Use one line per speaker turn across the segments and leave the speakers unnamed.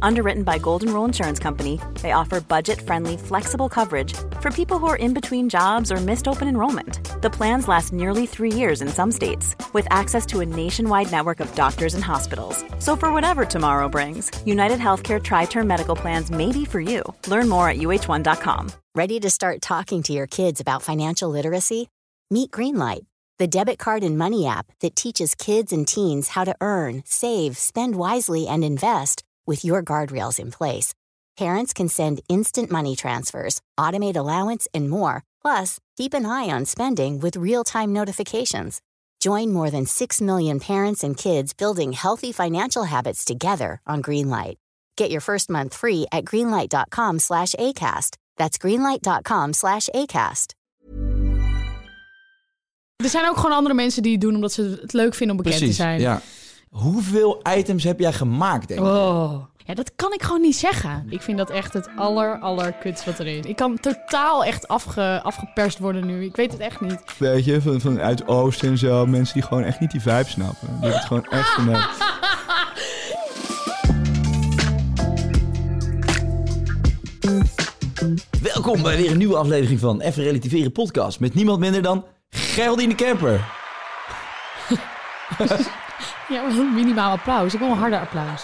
Underwritten by Golden Rule Insurance Company, they offer budget friendly, flexible coverage for people who are in between jobs or missed open enrollment. The plans last nearly three years in some states, with access to a nationwide network of doctors and hospitals. So, for whatever tomorrow brings, United Healthcare Tri Term Medical Plans may be for you. Learn more at uh1.com.
Ready to start talking to your kids about financial literacy? Meet Greenlight, the debit card and money app that teaches kids and teens how to earn, save, spend wisely, and invest with your guardrails in place. Parents can send instant money transfers, automate allowance, and more. Plus, keep an eye on spending with real time notifications. Join more than 6 million parents and kids building healthy financial habits together on Greenlight. Get your first month free at greenlight.com slash ACAST. That's greenlight.com slash ACAST.
Er zijn ook gewoon andere mensen die het doen omdat ze het leuk vinden om bekend
Precies,
te zijn.
ja. Hoeveel items heb jij gemaakt, denk ik?
Oh. Ja, dat kan ik gewoon niet zeggen. Ik vind dat echt het aller, aller kuts wat er is. Ik kan totaal echt afge, afgeperst worden nu. Ik weet het echt niet.
Weet je, van, van uit Oost en zo. Mensen die gewoon echt niet die vibe snappen. Die hebben het gewoon echt gemaakt.
Welkom bij weer een nieuwe aflevering van Even Relativeren podcast. Met niemand minder dan Geraldine Kemper.
Ja, wat een minimaal applaus. Ik wil een harder applaus.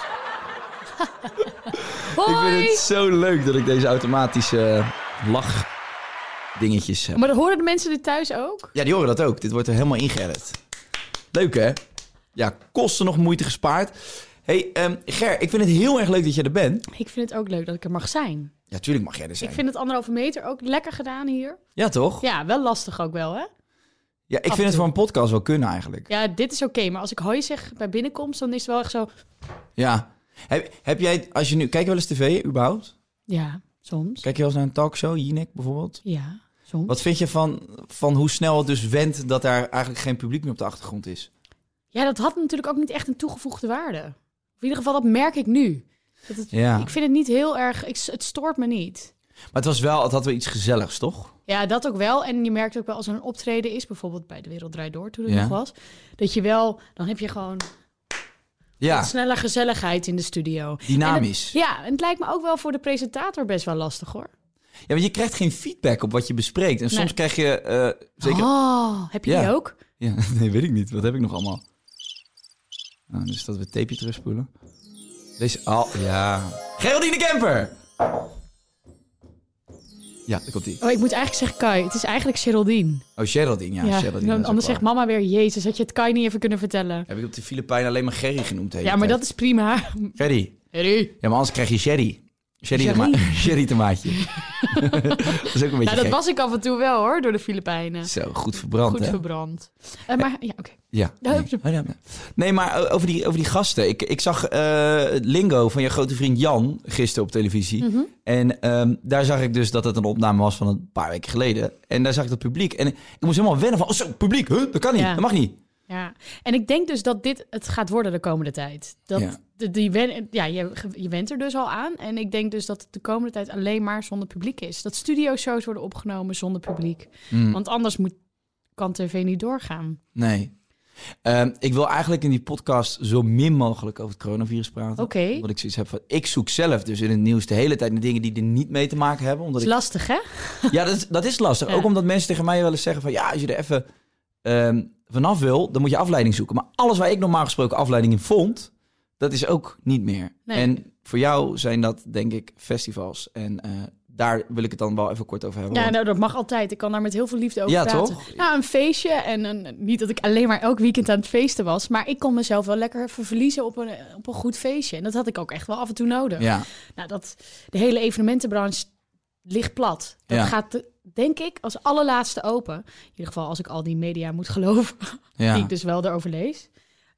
Ik
Hoi!
vind het zo leuk dat ik deze
eh,
automatische lach dingetjes heb.
Maar horen de mensen dit thuis ook?
Ja, die horen dat ook. Dit wordt er helemaal ingeëdit. Leuk, hè? Ja, kosten nog moeite gespaard. hey, ehm, Ger, ik vind het heel erg leuk dat jij er bent.
Ik vind het ook leuk dat ik er mag zijn.
Ja, tuurlijk mag jij er zijn.
Ik vind het anderhalve meter ook lekker gedaan hier.
Ja, toch? Ja,
Ja, wel lastig ook wel, hè?
ik vind het voor een podcast wel kunnen eigenlijk.
Ja, dit is oké, maar als ik hoi zeg bij binnenkomst, dan is het wel echt zo...
Ja. Heb, heb jij, als je nu... Kijk je wel eens tv, überhaupt?
Ja, soms.
Kijk je wel eens naar een talkshow, Jinek bijvoorbeeld?
Ja, soms.
Wat vind je van, van hoe snel het dus went dat daar eigenlijk geen publiek meer op de achtergrond is?
Ja, dat had natuurlijk ook niet echt een toegevoegde waarde. Of in ieder geval, dat merk ik nu. Dat het,
Ja.
Ik vind het niet heel erg... Ik, het stoort me niet.
Maar het was wel, het had wel iets gezelligs, toch?
Ja, dat ook wel. En je merkt ook wel als er een optreden is, bijvoorbeeld bij De Wereld Draait Door, toen het
Ja.
nog was, dat je wel... Dan heb je gewoon
Ja,
wat sneller gezelligheid in de studio.
dynamisch.
Ja, en het lijkt me ook wel voor de presentator best wel lastig, hoor.
Ja, want je krijgt geen feedback op wat je bespreekt. En soms
Nee.
krijg je... eh, zeker...
Oh, heb je die
Ja.
ook?
Ja, nee, weet ik niet. Wat heb ik nog allemaal? Nou, dus dat we het tapeje terugspoelen. Deze... Oh, ja. Geraldine Kemper! Ja, daar komt die.
Oh, ik moet eigenlijk zeggen Kai. Het is eigenlijk Geraldine.
Oh, Geraldine. Ja,
Ja,
Geraldine.
dan-
dat is
anders
ook
zegt
waar.
mama weer, jezus, had je het Kai niet even kunnen vertellen.
Heb ik op de Filipijnen alleen maar Gerry genoemd? de hele
Ja, maar
tijd.
dat is prima.
Gerry.
Gerry.
Ja, maar anders krijg je Sherry. Sherry,
Sherry?
Toma Sherry tomaatje. dat is ook een beetje
Nou, dat
gek.
was ik af en toe wel hoor, door de Filipijnen.
Zo, goed verbrand,
Goed
hè?
verbrand. Eh, maar ja, oké.
Ja.
Ja,
Nee.
op de-
Oh, ja, ja. Nee, maar o- over die, over die gasten. Ik, ik zag eh, het Lingo van je grote vriend Jan gisteren op televisie.
Mhm.
En ehm, daar zag ik dus dat het een opname was van een paar weken geleden. En daar zag ik dat publiek. En ik moest helemaal wennen van, oh zo, publiek, huh? dat kan niet,
Ja.
dat mag niet.
Ja. En ik denk dus dat dit het gaat worden de komende tijd. Dat
Ja.
de, die wen, ja, je, je went er dus al aan. En ik denk dus dat het de komende tijd alleen maar zonder publiek is. Dat studio-shows worden opgenomen zonder publiek.
Mm.
Want anders moet, kan tv niet doorgaan.
Nee. Ehm, ik wil eigenlijk in die podcast zo min mogelijk over het coronavirus praten.
Oké.
Omdat ik zoiets heb van, ik zoek zelf dus in het nieuws de hele tijd naar dingen die er niet mee te maken hebben. Omdat
Dat
ik
is lastig, hè?
Ja, dat is, dat is lastig.
Ja.
Ook omdat mensen tegen mij wel eens zeggen van... ja, als je er even ehm, vanaf wil, dan moet je afleiding zoeken. Maar alles waar ik normaal gesproken afleiding in vond... dat is ook niet meer.
Nee.
En voor jou zijn dat, denk ik, festivals. En eh, daar wil ik het dan wel even kort over hebben.
Ja,
want-
nou, dat mag altijd. Ik kan daar met heel veel liefde over
Ja,
praten.
toch?
Nou, een feestje. En een, niet dat ik alleen maar elk weekend aan het feesten was. Maar ik kon mezelf wel lekker even verliezen op een, op een goed feestje. En dat had ik ook echt wel af en toe nodig.
ja.
Nou, dat, de hele evenementenbranche ligt plat. Dat
Ja.
gaat, denk ik, als allerlaatste open. In ieder geval als ik al die media moet geloven.
ja.
Die ik dus wel daarover lees.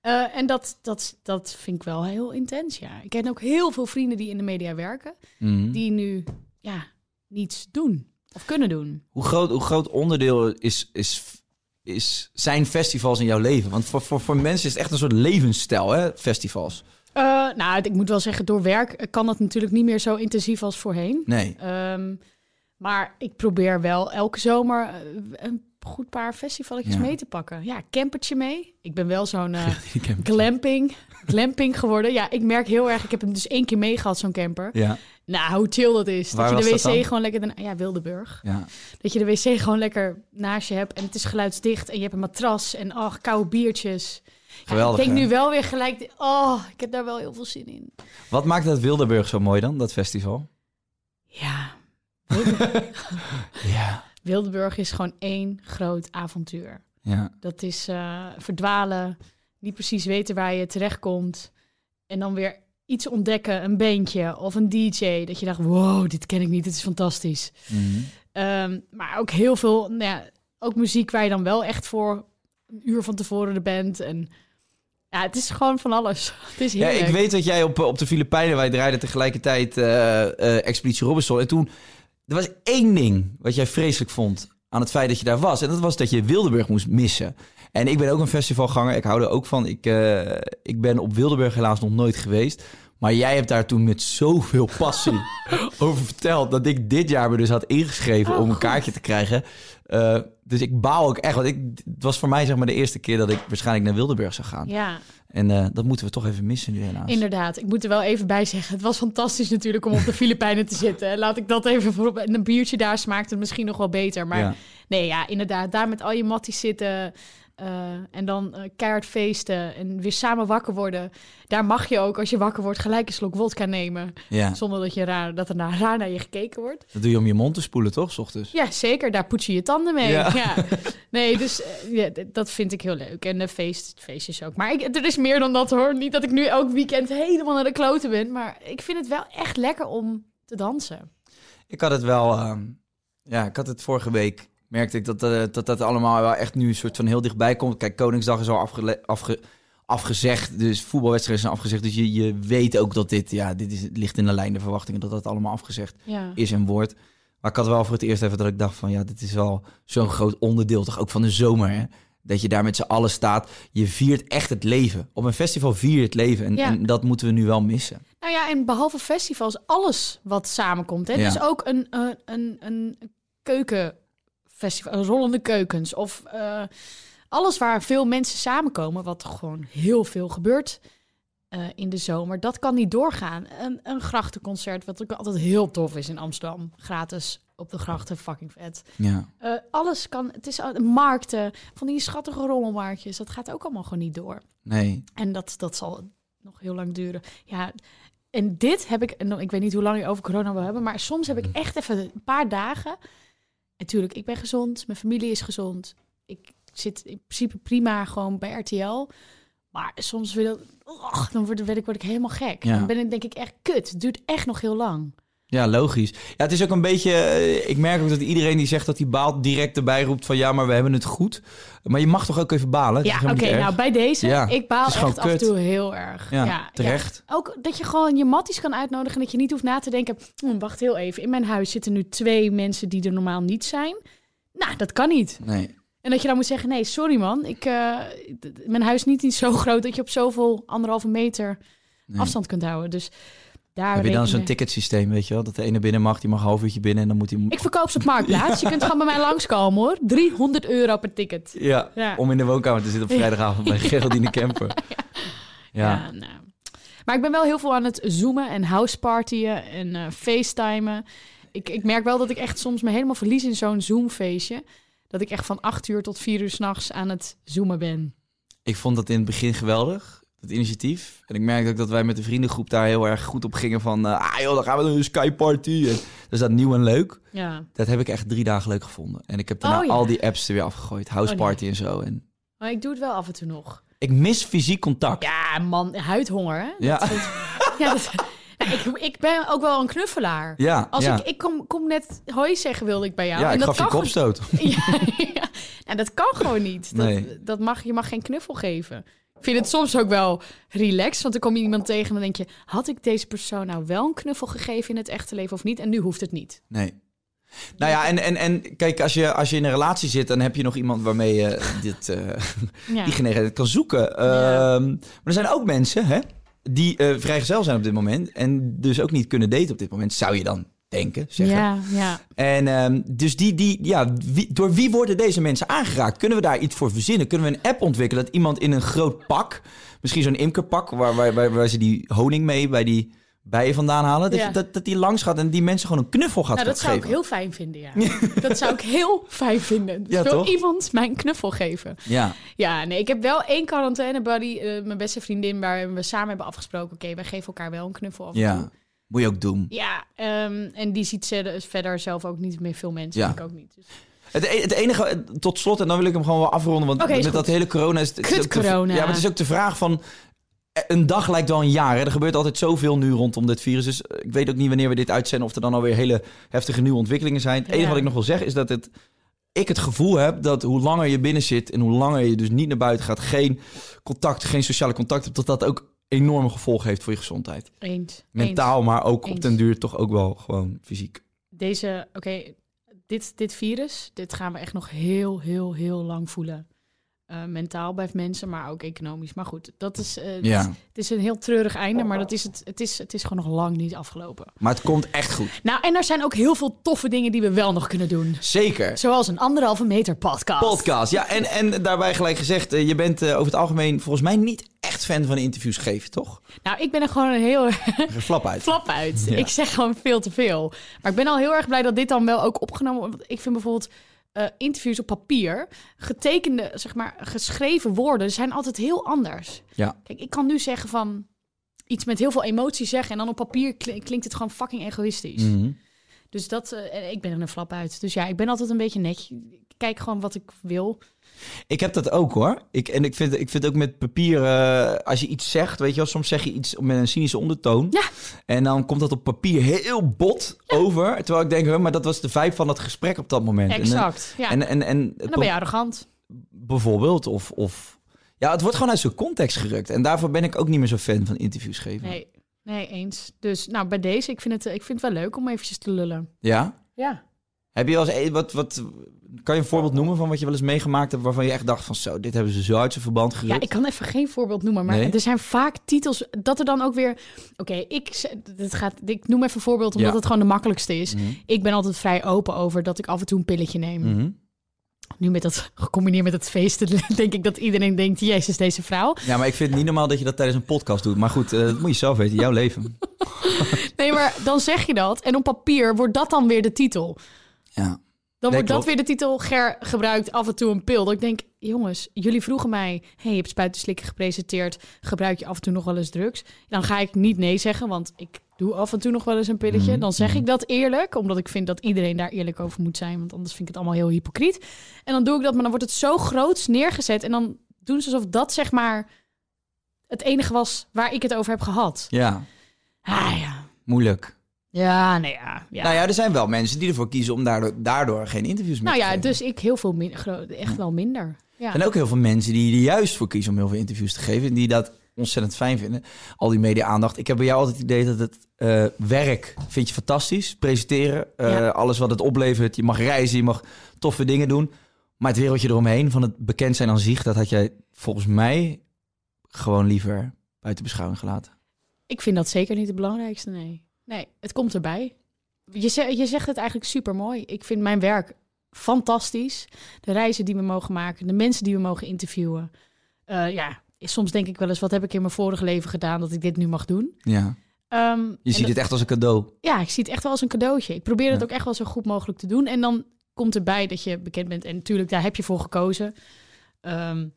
Eh, en dat, dat, dat vind ik wel heel intens, ja. Ik ken ook heel veel vrienden die in de media werken.
Mhm.
Die nu, ja, niets doen. Of kunnen doen.
Hoe, groot, hoe groot onderdeel is, is, is, zijn festivals in jouw leven? Want voor, voor, voor mensen is het echt een soort levensstijl, hè, festivals.
Eh, nou, ik moet wel zeggen, door werk eh, kan dat natuurlijk niet meer zo intensief als voorheen.
Nee.
Ehm, Maar ik probeer wel elke zomer eh, een goed paar festivaletjes
Ja.
mee te pakken. Ja, campertje mee. Ik ben wel zo'n eh,
Die camper.
glamping, glamping geworden. Ja, ik merk heel erg, ik heb hem dus één keer mee gehad, zo'n camper.
Ja,
Nou, hoe chill dat is.
Waar
dat je de
was dat dan?
wc gewoon lekker... daarna- Ja, Wildeburg.
ja.
Dat je de wc gewoon lekker naast je hebt en het is geluidsdicht en je hebt een matras en ach, koude biertjes. Ja,
Geweldig,
ik denk
hè?
nu wel weer gelijk, oh, ik heb daar wel heel veel zin in.
Wat maakt dat Wildeburg zo mooi dan, dat festival?
Ja,
Ja.
Wildeburg is gewoon één groot avontuur.
Ja,
Dat is eh, verdwalen, niet precies weten waar je terechtkomt. En dan weer iets ontdekken, een bandje of een DJ. Dat je dacht, wow, dit ken ik niet, dit is fantastisch.
Mhm.
Ehm, maar ook heel veel, nou ja, ook muziek waar je dan wel echt voor een uur van tevoren er bent. En ja, het is gewoon van alles. Het is
ja
heerlijk.
ik weet dat jij op, op de Filipijnen, wij draaiden tegelijkertijd eh, eh, Expeditie Robinson. En toen, er was één ding wat jij vreselijk vond aan het feit dat je daar was. En dat was dat je Wildeburg moest missen. En ik ben ook een festivalganger, ik hou er ook van. Ik, eh, ik ben op Wildeburg helaas nog nooit geweest. Maar jij hebt daar toen met zoveel passie over verteld... dat ik dit jaar me dus had ingeschreven
Oh,
om een
goed.
kaartje te krijgen. Eh, dus ik baal ook echt, want ik, het was voor mij zeg maar de eerste keer... dat ik waarschijnlijk naar Wildeburg zou gaan.
Ja,
En eh, dat moeten we toch even missen nu helaas.
inderdaad. Ik moet er wel even bij zeggen. Het was fantastisch natuurlijk om op de Filipijnen te zitten. Laat ik dat even voorop. En een biertje daar smaakt het misschien nog wel beter. Maar
Ja.
nee, ja, inderdaad. Daar met al je matties zitten. eh, en dan eh, keihard feesten. En weer samen wakker worden. Daar mag je ook, als je wakker wordt, gelijk een slok wodka nemen.
Ja,
Zonder dat, je raar, dat er na- raar naar je gekeken wordt.
dat doe je om je mond te spoelen, toch, 's ochtends?
Ja, zeker. Daar poets je je tanden mee.
Ja.
Ja. Nee, dus eh, ja, d- dat vind ik heel leuk. En de feest, feestjes ook. Maar ik, er is meer dan dat hoor. Niet dat ik nu elk weekend helemaal naar de kloten ben. Maar ik vind het wel echt lekker om te dansen.
Ik had het wel... ehm, ja, ik had het vorige week... Merkte ik dat, eh, dat dat allemaal wel echt nu een soort van heel dichtbij komt. Kijk, Koningsdag is al afgele- afge- afgezegd. Dus voetbalwedstrijden zijn afgezegd. Dus je, je weet ook dat dit... Ja, dit is, het ligt in de lijn de verwachtingen dat dat allemaal afgezegd
Ja.
is en wordt. Maar ik had wel voor het eerst even dat ik dacht van... Ja, dit is wel zo'n groot onderdeel toch ook van de zomer, hè? Dat je daar met z'n allen staat. Je viert echt het leven. Op een festival vier je het leven. En,
Ja.
en dat moeten we nu wel missen.
Nou ja, en behalve festivals, alles wat samenkomt. Hè?
Ja.
Dus ook een, een, een, een keukenfestival, een rollende keukens. Of eh, alles waar veel mensen samenkomen, wat gewoon heel veel gebeurt eh, in de zomer. Dat kan niet doorgaan. Een, een grachtenconcert, wat ook altijd heel tof is in Amsterdam. Gratis op de grachten, fucking vet.
Ja.
Eh, alles kan, het is al- markten, van die schattige rommelmarktjes. Dat gaat ook allemaal gewoon niet door.
Nee.
En dat, dat zal nog heel lang duren. Ja, en dit heb ik, en dan- ik weet niet hoe lang je over corona wil hebben, maar soms heb ik echt even een paar dagen. En Natuurlijk, ik ben gezond, mijn familie is gezond. Ik zit in principe prima gewoon bij RTL. Maar soms wil, och, dan word, werd ik, word ik helemaal gek.
Ja.
Dan ben ik denk ik echt kut. Het duurt echt nog heel lang.
Ja, logisch. Ja, het is ook een beetje... eh, Ik merk ook dat iedereen die zegt dat hij baalt... direct erbij roept van ja, maar we hebben het goed. Maar je mag toch ook even balen? Het is
Ja, oké.
helemaal niet erg.
nou, bij deze,
Ja,
ik
het
baal
is
echt
gewoon
af en
kut.
toe heel erg.
Ja, terecht.
Ook dat je gewoon je matties kan uitnodigen en dat je niet hoeft na te denken. "Hm, wacht heel even, in mijn huis zitten nu twee mensen die er normaal niet zijn. Nou, dat kan niet.
Nee.
En dat je dan moet zeggen, nee, sorry man, ik, eh, d- d- mijn huis is niet zo groot dat je op zoveel anderhalve meter
nee.
afstand kunt houden. Dus daar
Heb je dan
rekenen-
zo'n ticketsysteem, weet je wel? Dat de ene binnen mag, die mag een half uurtje binnen en dan moet hij...
Ik verkoop ze op Marktplaats. Je kunt gewoon bij mij langskomen hoor. 300 euro per ticket.
Ja,
Ja.
om in de woonkamer te zitten op vrijdagavond bij Geraldine Kemper. Ja.
Ja. nou. Maar ik ben wel heel veel aan het zoomen en housepartyen en eh facetimen. Ik, ik merk wel dat ik echt soms me helemaal verlies in zo'n zoomfeestje. Dat ik echt van acht uur tot vier uur s'nachts aan het zoomen ben.
Ik vond dat in het begin geweldig, dat initiatief. En ik merkte ook dat wij met de vriendengroep daar heel erg goed op gingen van... eh, ah joh, dan gaan we naar een skyparty. En, dus dat nieuw en leuk.
Ja.
Dat heb ik echt drie dagen leuk gevonden. En ik heb daarna
Oh, ja.
al die apps er weer afgegooid. House
Oh, nee.
party en zo. En
Maar ik doe het wel af en toe nog.
ik mis fysiek contact.
Ja, man, huidhonger, hè?
ja.
Ja, dat- Ja, ik, ik ben ook wel een knuffelaar.
Ja,
Als
ja.
ik, ik kom, kom net hoi zeggen, wilde ik bij jou.
Ja,
En
ik
dat
gaf je
kan gewoon-
kopstoot.
ja, ja. Nou, dat kan gewoon niet. Dat,
Nee.
dat mag, je mag geen knuffel geven. Ik vind het soms ook wel relaxed, want dan kom je iemand tegen en dan denk je... had ik deze persoon nou wel een knuffel gegeven in het echte leven of niet? En nu hoeft het niet.
Nee. Nou ja, en, en, en kijk, als je, als je in een relatie zit, dan heb je nog iemand waarmee je dit, eh,
Ja.
die genegenheid kan zoeken.
Ja.
Ehm, maar er zijn ook mensen hè, die eh, vrijgezel zijn op dit moment en dus ook niet kunnen daten op dit moment. Zou je dan denken, zeggen.
Ja, ja.
En ehm, dus die, die, ja, wie- door wie worden deze mensen aangeraakt? Kunnen we daar iets voor verzinnen? Kunnen we een app ontwikkelen dat iemand in een groot pak, misschien zo'n imkerpak, waar, waar, waar, waar ze die honing mee bij die bijen vandaan halen, dat,
Ja.
je- dat, dat die langs gaat en die mensen gewoon een knuffel gaat
Nou, dat zou ik
geven?
heel fijn vinden, ja. Dat zou ik heel fijn vinden. Dus
Ja,
wil
toch?
iemand mij een knuffel geven?
Ja,
Ja, nee, ik heb wel één quarantaine buddy, eh, mijn beste vriendin, waar we samen hebben afgesproken. Oké, wij geven elkaar wel een knuffel af en toe.
ja. Moet je ook doen.
Ja, ehm, en die ziet ze verder zelf ook niet meer veel mensen.
Ja.
Ik ook niet. Dus-
Het, e- het enige, tot slot, en dan wil ik hem gewoon wel afronden, want
Oké, is
met
goed.
dat hele corona is het... het is
Kut
ook de v-
corona.
Ja, maar het is ook de vraag van... eh, Een dag lijkt wel een jaar. Hè? Er gebeurt altijd zoveel nu rondom dit virus. Dus eh, ik weet ook niet wanneer we dit uitzenden... of er dan alweer hele heftige nieuwe ontwikkelingen zijn. Het
Ja.
enige wat ik nog wil zeggen is dat het, ik het gevoel heb... dat hoe langer je binnen zit en hoe langer je dus niet naar buiten gaat... geen contact, geen sociale contact hebt... dat dat ook enorme gevolgen heeft voor je gezondheid.
Eens.
Mentaal, maar ook op
Eens.
den duur toch ook wel gewoon fysiek.
Eens. Deze, oké, dit, dit virus, dit gaan we echt nog heel, heel, heel lang voelen. Eh, mentaal bij mensen, maar ook economisch. Maar goed, dat is, eh,
Ja.
het, het is een heel treurig einde, maar dat is het, het, is, het is gewoon nog lang niet afgelopen.
Maar het komt echt goed.
Nou, en er zijn ook heel veel toffe dingen die we wel nog kunnen doen.
Zeker.
Zoals een anderhalve meter podcast.
Podcast, ja. En, en daarbij gelijk gezegd, eh, je bent eh, over het algemeen volgens mij niet echt fan van interviews geven, toch?
Nou, ik ben er gewoon een heel
Geen Flap uit.
flap uit.
Ja.
Ik zeg gewoon veel te veel. Maar ik ben al heel erg blij dat dit dan wel ook opgenomen wordt. Want ik vind bijvoorbeeld eh, interviews op papier, getekende, zeg maar, geschreven woorden zijn altijd heel anders.
Ja.
Kijk, ik kan nu zeggen van iets met heel veel emotie zeggen en dan op papier kli- klinkt het gewoon fucking egoïstisch.
Mhm.
Dus dat, eh, en ik ben er een flap uit. Dus ja, ik ben altijd een beetje netjes. Ik kijk gewoon wat ik wil.
Ik heb dat ook hoor. Ik, en ik vind, ik vind ook met papier, eh, als je iets zegt, weet je wel, soms zeg je iets met een cynische ondertoon.
Ja.
En dan komt dat op papier heel bot over. Terwijl ik denk, huh, maar dat was de vibe van het gesprek op dat moment. En, eh,
Exact. Ja. En,
En, en, en, het
dan ben je arrogant.
bijvoorbeeld, of, of... Ja, het wordt gewoon uit zijn context gerukt. En daarvoor ben ik ook niet meer zo fan van interviews geven.
Nee, nee, eens. Dus nou, bij deze, ik vind het, eh, ik vind het wel leuk om eventjes te lullen.
Ja?
Ja.
Heb je wel eens, e- wat, wat, kan je een voorbeeld noemen van wat je wel eens meegemaakt hebt waarvan je echt dacht van zo, dit hebben ze zo uit zijn verband gerukt?
Ja, ik kan even geen voorbeeld noemen, maar
Nee?
er zijn vaak titels dat er dan ook weer. Oké, ik, z- dit gaat, ik noem even een voorbeeld omdat
Ja.
het gewoon de makkelijkste is.
Mhm.
Ik ben altijd vrij open over dat ik af en toe een pilletje neem.
Mhm.
Nu met dat gecombineerd met het feesten, denk ik dat iedereen denkt: Jezus, deze vrouw.
Ja, maar ik vind het niet normaal dat je dat tijdens een podcast doet. Maar goed, eh, dat moet je zelf weten, jouw leven.
Nee, maar dan zeg je dat en op papier wordt dat dan weer de titel.
Ja.
Dan
Nee,
wordt dat
klopt.
weer de titel Ger gebruikt af en toe een pil. Dat ik denk, jongens, jullie vroegen mij... hey, je hebt spuitenslikken gepresenteerd. Gebruik je af en toe nog wel eens drugs? Dan ga ik niet nee zeggen, want ik doe af en toe nog wel eens een pilletje.
Mhm.
Dan zeg ik dat eerlijk, omdat ik vind dat iedereen daar eerlijk over moet zijn. Want anders vind ik het allemaal heel hypocriet. En dan doe ik dat, maar dan wordt het zo groots neergezet. En dan doen ze alsof dat zeg maar het enige was waar ik het over heb gehad.
Ja,
Ah ja.
moeilijk.
Ja, nee, ja. ja.
Nou ja, er zijn wel mensen die ervoor kiezen om daardoor, daardoor geen interviews meer
nou
te
ja,
geven.
dus ik heel veel minder, gro- echt wel minder. Ja.
Er zijn ook heel veel mensen die er juist voor kiezen om heel veel interviews te geven. En die dat ontzettend fijn vinden. Al die media-aandacht. Ik heb bij jou altijd het idee dat het eh, werk vind je fantastisch. Presenteren, eh,
Ja.
alles wat het oplevert. Je mag reizen, je mag toffe dingen doen. Maar het wereldje eromheen, van het bekend zijn aan zich... dat had jij volgens mij gewoon liever buiten beschouwing gelaten.
Ik vind dat zeker niet het belangrijkste, nee. Nee, het komt erbij. Je, ze- je zegt het eigenlijk super mooi. Ik vind mijn werk fantastisch. De reizen die we mogen maken, de mensen die we mogen interviewen. Eh, ja, soms denk ik wel eens, wat heb ik in mijn vorige leven gedaan dat ik dit nu mag doen?
Ja.
Ehm,
Je
en
ziet
dat-
het echt als een cadeau.
Ja, ik zie het echt wel als een cadeautje. Ik probeer het
Ja.
ook echt wel zo goed mogelijk te doen. En dan komt erbij dat je bekend bent. En natuurlijk, daar heb je voor gekozen. Ehm,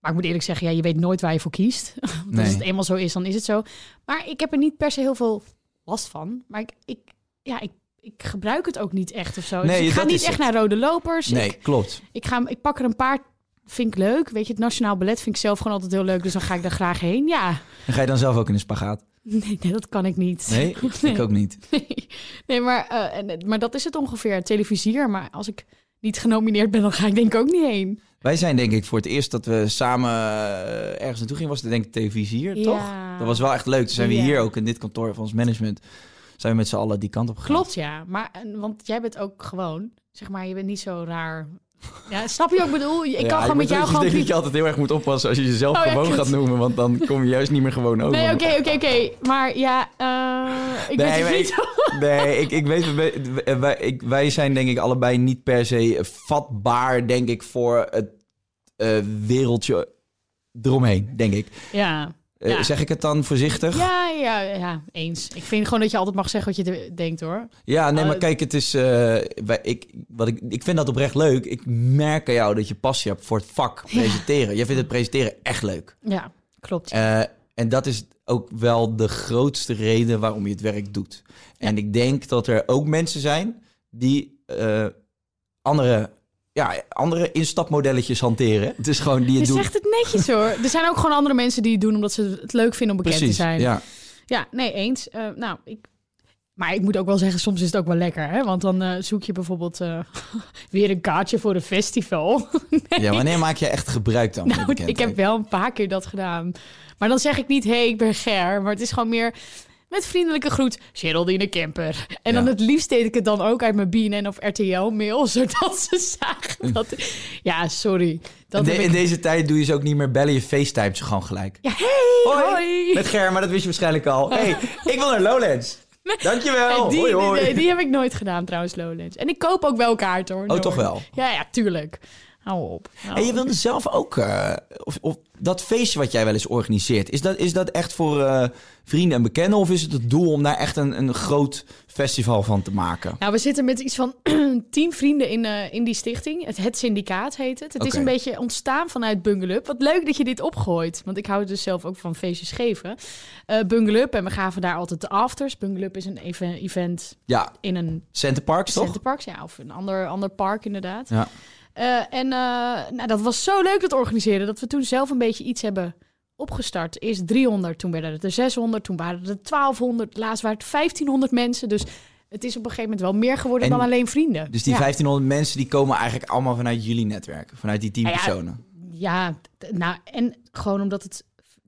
maar ik moet eerlijk zeggen, ja, je weet nooit waar je voor kiest. Want
Nee.
als het eenmaal zo is, dan is het zo. Maar ik heb er niet per se heel veel last van. Maar ik, ik, ja, ik, ik gebruik het ook niet echt of zo. Dus
Nee,
ik ga
dat
niet
is
echt naar rode lopers.
Nee,
Ik,
klopt.
ik, ga, ik pak er een paar, vind ik leuk. Weet je, het Nationaal Ballet vind ik zelf gewoon altijd heel leuk. Dus dan ga ik daar graag heen. Ja,
En ga je dan zelf ook in een spagaat?
nee, nee, dat kan ik niet.
Nee, ik ook niet.
Nee, nee maar, eh, en, maar dat is het ongeveer. Televisier. Maar als ik niet genomineerd ben, dan ga ik denk ik ook niet heen.
Wij zijn denk ik voor het eerst dat we samen eh, ergens naartoe gingen, was het denk ik televisier,
Ja.
toch? Dat was wel echt leuk. Toen zijn we
Ja.
hier ook in dit kantoor van ons management, zijn we met z'n allen die kant op gegaan.
Klopt, ja. Maar, en- want jij bent ook gewoon, zeg maar, je bent niet zo raar Ja, snap je wat ik bedoel? Ik kan gewoon met jou
ik
gewoon...
denk dat
piep-
je altijd heel erg moet oppassen als je jezelf
Oh ja,
gewoon
kut.
gaat noemen. Want dan kom je juist niet meer gewoon over.
Nee, oké, oké, oké. Maar ja, eh, ik
Nee,
weet het
maar ik-
niet.
Nee, ik, ik weet, wij, wij- ik- wij zijn denk ik allebei niet per se vatbaar, denk ik, voor het eh, wereldje eromheen, denk ik.
Ja.
Eh,
Ja.
Zeg ik het dan voorzichtig?
Ja, ja, ja, eens. Ik vind gewoon dat je altijd mag zeggen wat je de- denkt, hoor.
Ja, nee, maar
Eh,
kijk, het is. eh, wij- ik, wat ik, ik vind dat oprecht leuk. Ik merk aan jou dat je passie hebt voor het vak presenteren. Jij vindt het presenteren echt leuk.
Ja, klopt.
Eh, en dat is ook wel de grootste reden waarom je het werk doet. En ik denk dat er ook mensen zijn die eh, andere, ja, andere instapmodelletjes hanteren. Het is gewoon die
Je
het doen.
zegt het netjes, hoor. Er zijn ook gewoon andere mensen die het doen omdat ze het leuk vinden om bekend
Precies.
te zijn.
Ja.
Ja, nee, eens. Eh, nou, ik... Maar ik moet ook wel zeggen, soms is het ook wel lekker, hè? Want dan eh, zoek je bijvoorbeeld eh, weer een kaartje voor een festival.
Nou, ja, wanneer maak je echt gebruik dan? van je
Nou, ik heb
bekendheid?
wel een paar keer dat gedaan. Maar dan zeg ik niet, hé, hey, ik ben Ger. Maar het is gewoon meer met vriendelijke groet, Geraldine Kemper. En dan
Ja.
het liefst deed ik het dan ook uit mijn BNN of RTL-mail, zodat ze zagen dat... Ja, sorry. Dat
In, de-
heb ik-
in deze tijd doe je ze ook niet meer bellen, je FaceTime ze gewoon gelijk.
Ja, hey, hoi.
Met Ger, maar dat wist je waarschijnlijk al. hey, ik wil naar Lowlands. Dankjewel.
Nee, die,
Oh, hoi, hoi. Oh,
nee, die heb ik nooit gedaan trouwens, Lowlands. En ik koop ook wel kaarten hoor. Nooit.
toch wel?
Ja, ja, tuurlijk. Hou op. Hou
En je
op.
wilde zelf ook... eh, of, of dat feestje wat jij wel eens organiseert... is dat, is dat echt voor eh, vrienden en bekenden... of is het het doel om daar echt een, een groot festival van te maken?
Nou, we zitten met iets van tien vrienden in, eh, in die stichting. Het, het Syndicaat heet het. Het is
Oké.
een beetje ontstaan vanuit Bungalup. Wat leuk dat je dit opgooit. Want ik hou dus zelf ook van feestjes geven. Eh Bungalup, en we gaven daar altijd de afters. Bungalup is een even- event
Ja,
in een
Center Parks toch?
Centerparks, ja, of een ander, ander park inderdaad.
Ja.
Eh, en eh, nou, dat was zo leuk dat organiseren, dat we toen zelf een beetje iets hebben opgestart. Eerst 300, toen werden het er 600, toen waren het er 1200, laatst waren het 1500 mensen. Dus het is op een gegeven moment wel meer geworden
En-
dan alleen vrienden.
Dus die
ja.
1500 mensen die komen eigenlijk allemaal vanuit jullie netwerk. Vanuit die 10
Nou ja,
personen.
Ja, t- nou, en gewoon omdat het,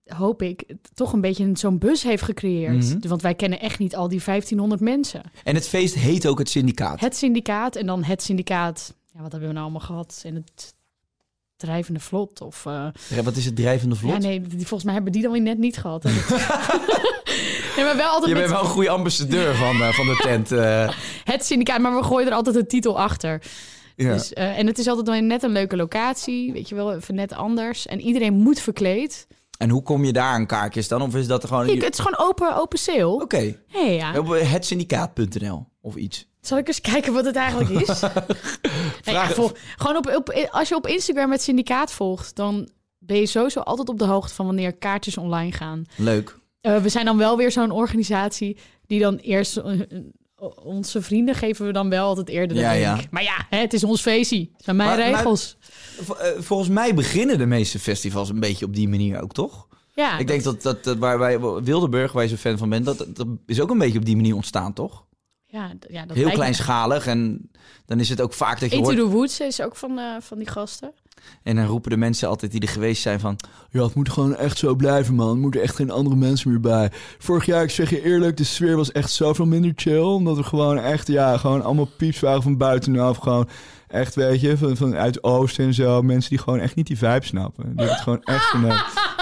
hoop ik, het toch een beetje een- zo'n bus heeft gecreëerd.
Mhm.
Want wij kennen echt niet al die 1500 mensen.
En het feest heet ook het syndicaat.
Het syndicaat en dan het syndicaat. Ja, wat hebben we nou allemaal gehad? En het drijvende vlot of... eh,
Wat is het drijvende vlot?
ja, nee, die, volgens mij hebben die dan weer net niet gehad. En dat- nee, maar wel altijd
Je
met
bent wel een goede ambassadeur van, eh, van de tent. eh.
het syndicaat, maar we gooien er altijd een titel achter.
ja.
Dus, eh, en het is altijd wel net een leuke locatie, weet je wel, even net anders. En iedereen moet verkleed.
En hoe kom je daar aan kaartjes dan? Of is dat gewoon...
Kijk, het is gewoon open, open sale.
Oké,
Hey, ja.
op eh, htsyndicaat.nl of iets.
Zal ik eens kijken wat het eigenlijk is? Nou ja,
Vraag-
vol- gewoon op, op, als je op Instagram het syndicaat volgt, dan ben je sowieso altijd op de hoogte van wanneer kaartjes online gaan.
Leuk.
Eh, we zijn dan wel weer zo'n organisatie die dan eerst eh, onze vrienden geven we dan wel altijd eerder de
Ja,
link.
ja.
Maar ja, hè, het is ons feestje. Het zijn mijn
Maar- maar-
regels.
V- eh, volgens mij beginnen de meeste festivals een beetje op die manier ook, toch?
ja,
ik denk dat, dat, eh, waar wij, Wildeburg, waar je zo'n fan van bent, dat, dat is ook een beetje op die manier ontstaan, toch?
ja, d- ja, dat
Heel
lijkt me-
kleinschalig en dan is het ook vaak dat je
Into
hoort...
the Woods is ook van, eh, van die gasten.
En dan roepen de mensen altijd die er geweest zijn van...
Ja, het moet gewoon echt zo blijven, man. Er moeten echt geen andere mensen meer bij. Vorig jaar, ik zeg je eerlijk, de sfeer was echt zoveel minder chill. Omdat we gewoon echt, ja, gewoon allemaal pieps waren van buitenaf. Gewoon echt, weet je, van, vanuit Oosten en zo. Mensen die gewoon echt niet die vibe snappen. Die hebben het gewoon echt verneukt.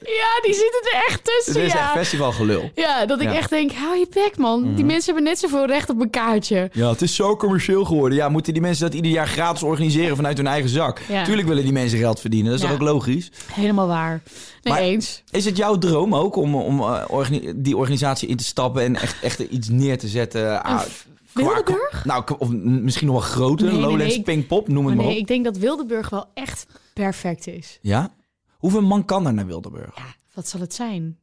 Ja, die zitten er echt
Het
tussen.
is echt
ja.
festivalgelul.
ja, dat ik
Ja. Mhm.
echt denk, hou je bek man. Die mensen hebben net zoveel recht op een kaartje.
Ja, het is zo commercieel geworden. Ja, moeten die mensen dat ieder jaar gratis organiseren vanuit hun eigen zak?
Ja.
Tuurlijk willen die mensen geld verdienen, dat is
Ja.
toch ook logisch?
Helemaal waar. Nee,
Maar-
eens.
Is het jouw droom ook om, om eh, organi- die organisatie in te stappen en echt, echt iets neer te zetten? Ah, qua-
Wildeburg?
Nou, k- of m- misschien nog wel groter.
Nee, nee,
Lowlands,
nee, ik-
Pinkpop, noem
Maar
het maar,
nee,
op.
ik denk dat Wildeburg wel echt perfect is.
Ja? Hoeveel man kan er naar Wildeburg?
Ja, wat zal het zijn?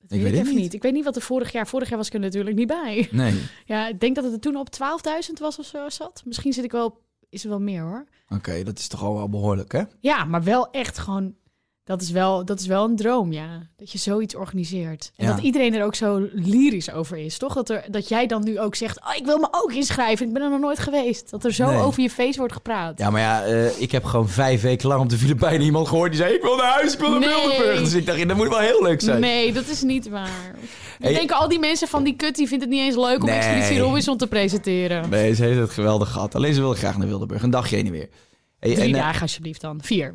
Dat
Ik weet het
even
niet.
Ik weet niet wat er vorig jaar... Vorig jaar was ik er natuurlijk niet bij.
Nee.
Ja, ik denk dat het er toen op 12.000 was of zo zat. Misschien zit ik wel... Is er wel meer hoor.
Oké, dat is toch al wel behoorlijk, hè?
Ja, maar wel echt gewoon... Dat is, wel, dat is wel een droom, ja. Dat je zoiets organiseert. En
Ja.
dat iedereen er ook zo lyrisch over is, toch? Dat, er, dat jij dan nu ook zegt, oh, ik wil me ook inschrijven. Ik ben er nog nooit geweest. Dat er zo
Nee.
over je feest wordt gepraat.
Ja, maar ja, eh, ik heb gewoon vijf weken lang op de Filipijnen iemand gehoord die zei... ik wil naar huis, ik wil naar
Nee.
Bilderburg. Dus ik dacht, ja, dat moet wel heel leuk zijn.
Nee, dat is niet waar.
Hey.
Ik denk al die mensen van die kut, die vindt het niet eens leuk om
Nee.
Expeditie Robinson te presenteren.
Nee, ze heeft het geweldig gehad. Alleen ze wilde graag naar Wildeburg. Een dagje heen en weer. Hey,
Drie
en, eh,
dagen alsjeblieft dan. Vier.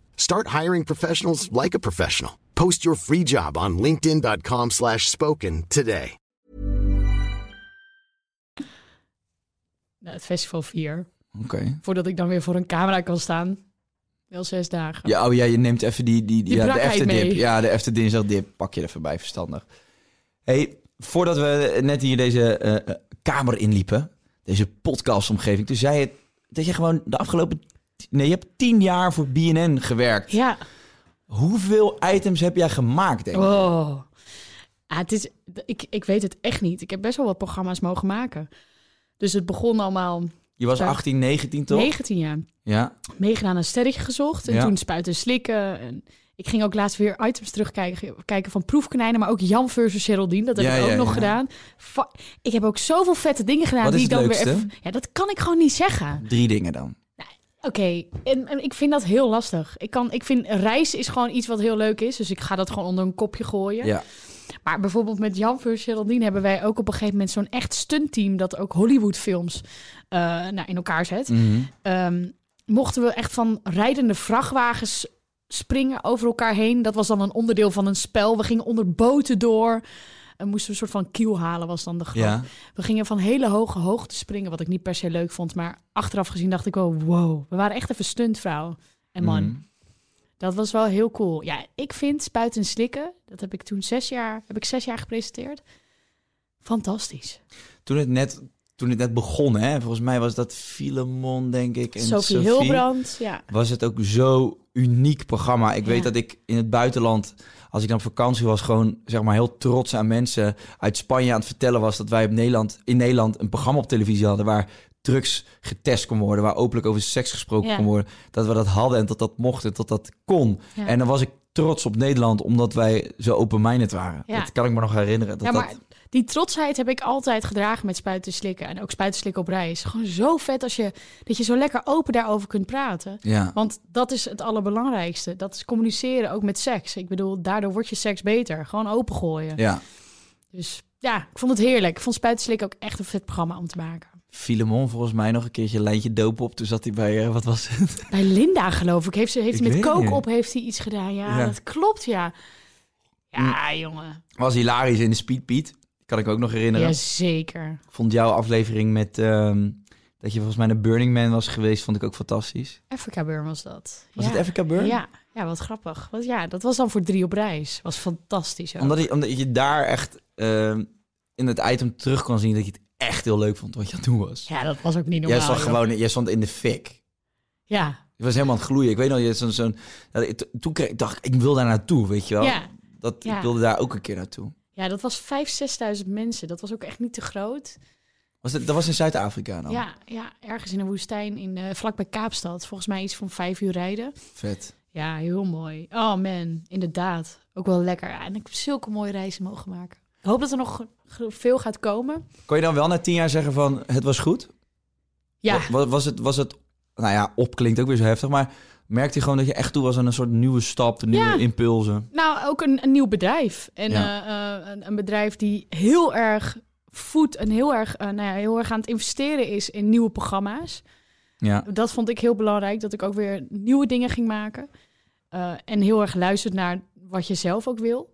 Start hiring professionals like a professional. Post your free job on linkedin.com/spoken slash spoken today.
Nou, het festival vier.
Oké.
Voordat ik dan weer voor een camera kan staan. Wel zes dagen.
Ja, oh ja, je neemt even die, die,
Die
ja, de
brakheid
efterdip.
mee.
Ja, de efterdip dip pak je er even bij, verstandig. hey, voordat we net hier deze eh, kamer inliepen, deze podcastomgeving, toen zei je dat je gewoon de afgelopen... Nee, je hebt tien jaar voor BNN gewerkt.
Ja.
Hoeveel items heb jij gemaakt, denk ik?
Oh. Ah, het is, ik, ik weet het echt niet. Ik heb best wel wat programma's mogen maken. Dus het begon allemaal
Je was
Ja.
18, 19, toch?
19 jaar.
Ja.
Meegedaan aan Sterretje gezocht. En
Ja.
toen spuiten en slikken. En ik ging ook laatst weer items terugkijken kijken van proefkonijnen. Maar ook Jan versus Geraldine. Dat heb
Ja,
ik ook
ja,
nog
ja.
gedaan. Va- ik heb ook zoveel vette dingen gedaan.
Wat
die
is
ik
het
dan weer
leukste?
even, Ja, dat kan ik gewoon niet zeggen.
Drie dingen dan.
Oké, en, en ik vind dat heel lastig. Ik, kan, ik vind reis is gewoon iets wat heel leuk is. Dus ik ga dat gewoon onder een kopje gooien.
Ja.
Maar bijvoorbeeld met Jan versus Geraldine hebben wij ook op een gegeven moment zo'n echt stuntteam dat ook Hollywoodfilms eh, nou, in elkaar zet. Ehm, mochten we echt van rijdende vrachtwagens springen over elkaar heen. Dat was dan een onderdeel van een spel. We gingen onder boten door. En moesten we een soort van kiel halen, was dan de grap.
Ja.
We gingen van hele hoge hoogte springen, wat ik niet per se leuk vond. Maar achteraf gezien dacht ik wel, wow. We waren echt even stuntvrouw en man.
Mhm.
Dat was wel heel cool. Ja, ik vind Spuiten en Slikken, dat heb ik toen zes jaar, heb ik zes jaar gepresenteerd. Fantastisch.
Toen het net, toen het net begon, hè, volgens mij was dat Filemon, denk ik. En
Sophie, Hilbrand, ja.
Was het ook zo uniek programma. Ik weet
Ja.
dat ik in het buitenland, als ik dan op vakantie was, gewoon zeg maar heel trots aan mensen uit Spanje aan het vertellen was dat wij op Nederland, in Nederland een programma op televisie hadden waar drugs getest kon worden, waar openlijk over seks gesproken
Ja.
kon worden. Dat we dat hadden en dat dat mocht en dat dat kon.
Ja.
En dan was ik trots op Nederland omdat wij zo open-minded waren.
Ja.
Dat kan ik me nog herinneren. Dat
ja, maar
dat...
die trotsheid heb ik altijd gedragen met spuiten en slikken. En ook spuiten en slikken op reis. Gewoon zo vet als je, dat je zo lekker open daarover kunt praten.
Ja.
Want dat is het allerbelangrijkste. Dat is communiceren, ook met seks. Ik bedoel, daardoor wordt je seks beter. Gewoon opengooien.
ja.
Dus ja, ik vond het heerlijk. Ik vond Spuiten Slikken ook echt een vet programma om te maken.
Filemon volgens mij nog een keertje een lijntje doop op. Toen zat hij bij, eh, wat was het?
Bij Linda geloof ik. Heeft ze heeft
Ik
hij met
weet het
kook
niet.
op heeft hij iets gedaan. Ja,
Ja. Hm.
dat klopt ja. Ja, jongen.
Was hilarisch in de Speedbeat. Kan ik ook nog herinneren.
Jazeker.
Ik vond jouw aflevering met ehm, dat je volgens mij een Burning Man was geweest, vond ik ook fantastisch.
Afrika Burn was dat.
Was
ja.
het Afrika Burn?
Ja. ja, wat grappig. Want ja, dat was dan voor drie op reis. Was fantastisch ook.
Omdat je, omdat je daar echt ehm, in het item terug kon zien dat je het echt heel leuk vond wat je aan het doen was.
Ja, dat was ook niet normaal.
jij, zag
joh.
gewoon, jij stond in de fik.
Ja,
Je was helemaal aan het gloeien. Ik weet nog, je had zo'n... zo'n- dat ik- toen kreeg ik, dacht ik, ik wil daar naartoe, weet je wel?
Ja.
Dat, Ik
Ja.
wilde daar ook een keer naartoe.
ja, dat was vijf, zesduizend mensen. Dat was ook echt niet te groot.
Was dat, dat was in Zuid-Afrika dan?
Ja, ja, ergens in een woestijn in, eh, vlakbij Kaapstad. Volgens mij iets van vijf uur rijden.
Vet.
Ja, heel mooi. Oh man, inderdaad. Ook wel lekker. Ja, en ik heb zulke mooie reizen mogen maken. Ik hoop dat er nog ge- veel gaat komen.
Kon je dan wel na tien jaar zeggen van, het was goed?
Ja,
Wa- wa- Was, het, was het, nou ja, op klinkt ook weer zo heftig, maar merkte je gewoon dat je echt toe was aan een soort nieuwe stap, nieuwe
Ja.
impulsen?
nou ook een, een nieuw bedrijf. En
Ja.
eh, eh, een, een bedrijf die heel erg voedt en heel erg, eh, nou ja, heel erg aan het investeren is in nieuwe programma's.
Ja.
Dat vond ik heel belangrijk, dat ik ook weer nieuwe dingen ging maken. Eh, en heel erg luistert naar wat je zelf ook wil.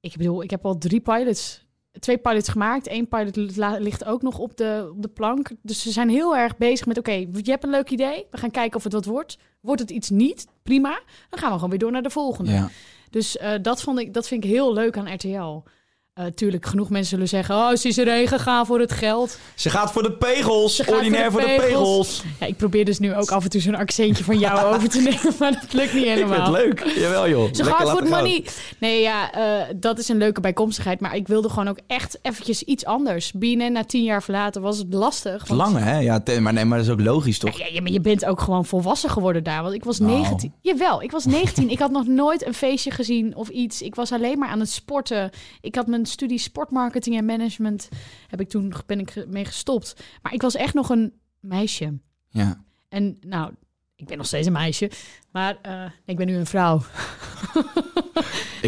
Ik bedoel, ik heb al drie pilots twee pilots gemaakt. Eén pilot la- ligt ook nog op de, op de plank. Dus ze zijn heel erg bezig met: oké, je hebt een leuk idee. We gaan kijken of het wat wordt. Wordt het iets niet? Prima. Dan gaan we gewoon weer door naar de volgende.
Ja.
Dus eh, dat, vond ik, dat vind ik heel leuk aan RTL. Eh, tuurlijk, genoeg mensen zullen zeggen: Oh, ze is erheen gegaan voor het geld.
Ze gaat voor de pegels.
Ze gaat
Ordinair voor de pegels.
Ja, ik probeer dus nu ook af en toe zo'n accentje van jou over te nemen, maar dat lukt niet
Ik
helemaal.
vind het leuk. Jawel joh.
Ze
Lekker
gaat voor
laten
het
gaan.
money. Nee, ja, eh, dat is een leuke bijkomstigheid. Maar ik wilde gewoon ook echt eventjes iets anders. BNN na tien jaar verlaten was het lastig. want-
Lang hè? Ja, te- maar, nee, maar dat is ook logisch toch?
Ja, ja, maar je bent ook gewoon volwassen geworden daar. Want ik was
Nou.
19. Jawel, ik was 19. ik had nog nooit een feestje gezien of iets. Ik was alleen maar aan het sporten. Ik had mijn studie sportmarketing en management. Heb ik toen ben ik ge- mee gestopt. Maar ik was echt nog een meisje.
Ja.
En nou, ik ben nog steeds een meisje. Maar eh, ik ben nu een vrouw.
Ik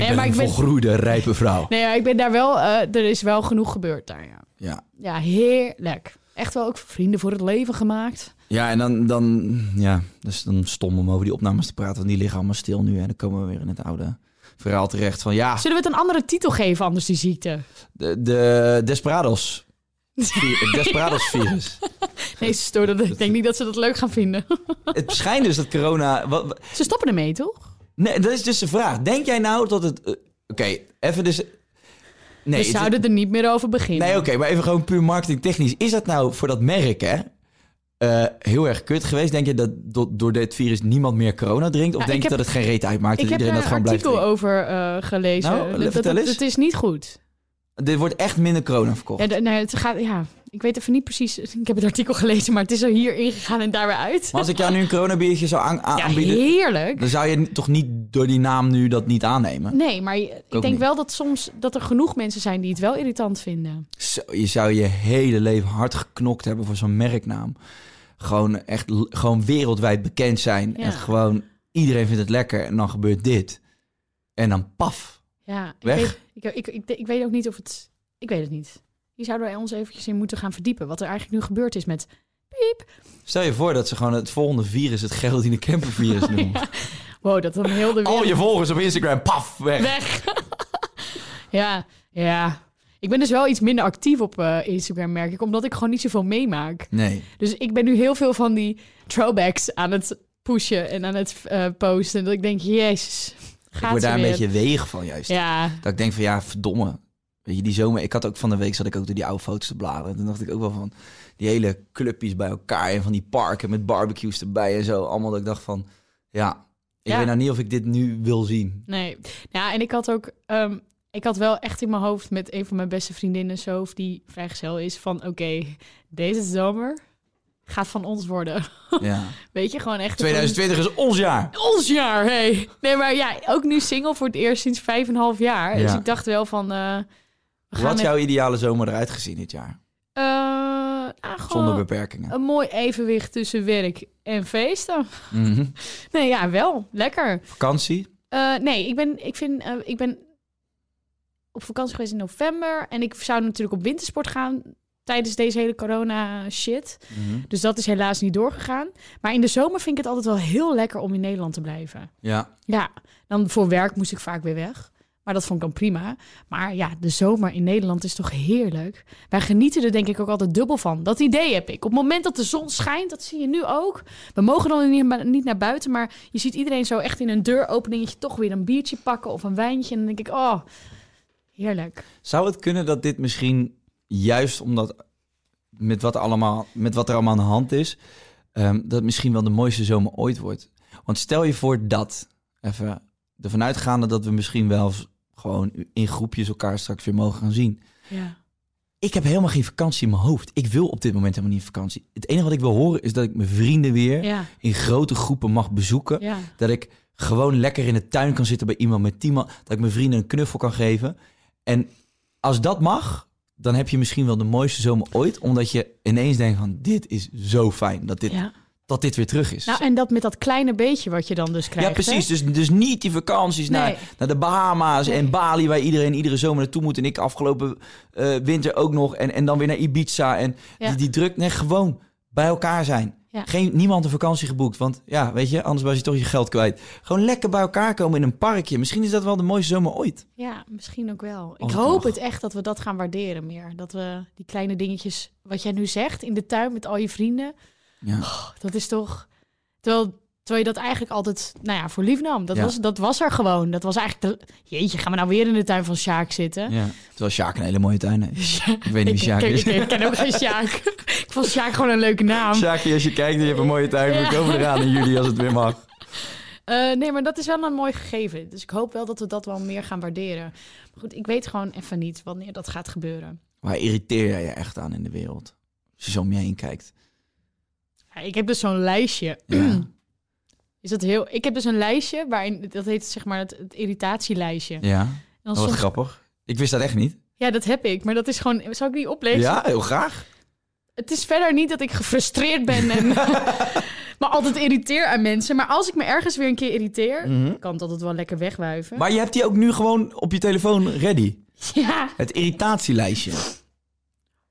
Nee,
ben
maar
een
ik ben-
volgroeide, rijpe vrouw.
Nee, ja, ik ben daar wel. eh, er is wel genoeg gebeurd daar. Ja.
Ja.
ja, heerlijk. Echt wel ook vrienden voor het leven gemaakt.
Ja, en dan, dan, ja, dus dan stom om over die opnames te praten. Want die liggen allemaal stil nu. En dan komen we weer in het oude verhaal terecht van ja,
Zullen we het een andere titel geven, anders die ziekte?
de, de Desperados. Vi- Desperados virus.
Nee, ze storen dat. Ik denk niet dat ze dat leuk gaan vinden.
Het schijnt dus dat corona. wa- wa-
Ze stoppen ermee, toch?
nee, dat is dus de vraag. Denk jij nou dat het. eh, Oké, even dus. Nee,
we
het-
zouden er niet meer over beginnen.
Nee, oké, maar even gewoon puur marketingtechnisch. Is dat nou voor dat merk, hè? eh, heel erg kut geweest. Denk je dat do- door dit virus niemand meer corona drinkt? Of
Nou,
denk
ik
je
heb-
dat het geen reet uitmaakt
ik
dat
heb
iedereen
daar
dat
een
gewoon blijft
artikel
drinken?
over eh, gelezen.
Nou,
Dat-
le-
dat,
vertel
dat-
eens.
Het is niet goed.
Dit wordt echt minder corona verkocht.
Ja, d- nou, het gaat, ja, ik weet even niet precies. Ik heb het artikel gelezen, maar het is er hier ingegaan en daar weer uit.
Maar als ik jou nu een coronabiertje zou aan- aan-
Ja,
aanbieden,
heerlijk.
dan zou je n- toch niet door die naam nu dat niet aannemen?
Nee, maar je- ik
ook
denk
niet.
wel dat soms dat er genoeg mensen zijn die het wel irritant vinden.
Zo, je zou je hele leven hard geknokt hebben voor zo'n merknaam. Gewoon echt l- gewoon wereldwijd bekend zijn.
Ja.
En gewoon iedereen vindt het lekker en dan gebeurt dit. En dan paf.
Ja, ik,
Weg.
Weet, ik, ik, ik, ik weet ook niet of het. Ik weet het niet. Hier zouden wij ons eventjes in moeten gaan verdiepen. Wat er eigenlijk nu gebeurd is met. Piep.
Stel je voor dat ze gewoon het volgende virus het Geraldine Kemper virus noemen.
Wow, dat dan heel de wereld.
Al Oh, je volgers op Instagram, paf, weg.
weg. ja, ja. Ik ben dus wel iets minder actief op eh, Instagram, merk ik. Omdat ik gewoon niet zoveel meemaak.
Nee.
Dus ik ben nu heel veel van die throwbacks aan het pushen en aan het eh, posten. Dat ik denk, jezus, gaat
ik word
ze
daar een
weer.
beetje weeg van juist.
Ja,
Dat ik denk van ja, verdomme. Weet je, die zomer, ik had ook van de week zat ik ook door die oude foto's te bladeren. Toen dacht ik ook wel van die hele clubjes bij elkaar en van die parken met barbecues erbij en zo. Allemaal dat ik dacht van ja, ik
Ja.
weet nou niet of ik dit nu wil zien.
nee. Ja, en ik had ook... ehm, ik had wel echt in mijn hoofd met een van mijn beste vriendinnen, Sof, die vrijgezel is, van oké, deze zomer gaat van ons worden.
Ja.
Weet je, gewoon echt...
2020 is ons jaar.
ons jaar, hey. Nee, maar ja, ook nu single voor het eerst sinds vijf en een half jaar. Dus
Ja.
ik dacht wel van... eh we
Hoe
gaan
had jouw ideale zomer eruit gezien dit jaar?
eh, nou,
Zonder
gewoon
beperkingen.
een mooi evenwicht tussen werk en feesten.
Mhm.
Nee, ja, wel. Lekker.
Vakantie?
Eh, nee, ik ben, ik, vind, eh, ik ben op vakantie geweest in november. En ik zou natuurlijk op wintersport gaan tijdens deze hele corona-shit. Dus dat is helaas niet doorgegaan. Maar in de zomer vind ik het altijd wel heel lekker om in Nederland te blijven.
Ja.
Ja, dan voor werk moest ik vaak weer weg. Maar dat vond ik dan prima. Maar ja, de zomer in Nederland is toch heerlijk. Wij genieten er denk ik ook altijd dubbel van. Dat idee heb ik. Op het moment dat de zon schijnt, dat zie je nu ook. We mogen dan niet- niet naar buiten, maar je ziet iedereen zo echt in een deuropeningetje toch weer een biertje pakken of een wijntje. En dan denk ik, oh, heerlijk.
Zou het kunnen dat dit misschien juist omdat met wat, allemaal, met wat er allemaal aan de hand is, ehm, dat het misschien wel de mooiste zomer ooit wordt? Want stel je voor dat, even ervan uitgaande dat we misschien wel z- gewoon in groepjes elkaar straks weer mogen gaan zien.
Ja.
Ik heb helemaal geen vakantie in mijn hoofd. Ik wil op dit moment helemaal niet op vakantie. Het enige wat ik wil horen is dat ik mijn vrienden weer
Ja.
in grote groepen mag bezoeken.
Ja.
Dat ik gewoon lekker in de tuin kan zitten bij iemand met tien man. Dat ik mijn vrienden een knuffel kan geven. En als dat mag, dan heb je misschien wel de mooiste zomer ooit. Omdat je ineens denkt van dit is zo fijn dat dit,
ja.
dat dit weer terug is.
Nou, en dat met dat kleine beetje wat je dan dus krijgt. hè?
ja, precies. Dus, dus niet die vakanties
Nee.
naar, naar de Bahama's en Bali... waar iedereen iedere zomer naartoe moet. En ik afgelopen eh, winter ook nog. En, en dan weer naar Ibiza. En
Ja.
die, die druk. Nee, gewoon bij elkaar zijn.
Ja.
Geen, niemand een vakantie geboekt, want ja, weet je, anders was je toch je geld kwijt. Gewoon lekker bij elkaar komen in een parkje. Misschien is dat wel de mooiste zomer ooit.
Ja, misschien ook wel. Ik
Als het
hoop
mag.
het echt dat we dat gaan waarderen meer. Dat we die kleine dingetjes, wat jij nu zegt, in de tuin met al je vrienden.
Ja.
Oh, dat is toch... Terwijl, terwijl je dat eigenlijk altijd nou ja, voor lief nam. Dat,
Ja.
was, dat was er gewoon. Dat was eigenlijk... De, jeetje, gaan we nou weer in de tuin van Sjaak zitten?
Ja. Terwijl Sjaak een hele mooie tuin heeft. Ik weet niet wie Sjaak
ik,
is.
Ik, ik ken ook geen Sjaak. ik vond Sjaak gewoon een leuke naam.
Sjaakje, als je kijkt, je hebt een mooie tuin.
Ja.
We komen eraan in juli als het weer mag.
Eh, nee, maar dat is wel een mooi gegeven. Dus ik hoop wel dat we dat wel meer gaan waarderen. Maar goed, ik weet gewoon even niet wanneer dat gaat gebeuren.
Waar irriteer jij je echt aan in de wereld? Als je zo om je heen kijkt.
Ja, ik heb dus zo'n lijstje.
Ja.
Is dat heel... Ik heb dus een lijstje waarin... Dat heet zeg maar het, het irritatielijstje. En
ja.
dan
Dat was
soms-
grappig. Ik wist dat echt niet.
ja, dat heb ik. Maar dat is gewoon... Zal ik die oplezen?
Ja, heel graag.
Het is verder niet dat ik gefrustreerd ben en maar altijd irriteer aan mensen. Maar als ik me ergens weer een keer irriteer, kan het altijd wel lekker wegwuiven.
Mhm. Maar je hebt die ook nu gewoon op je telefoon ready.
Ja,
Het irritatielijstje.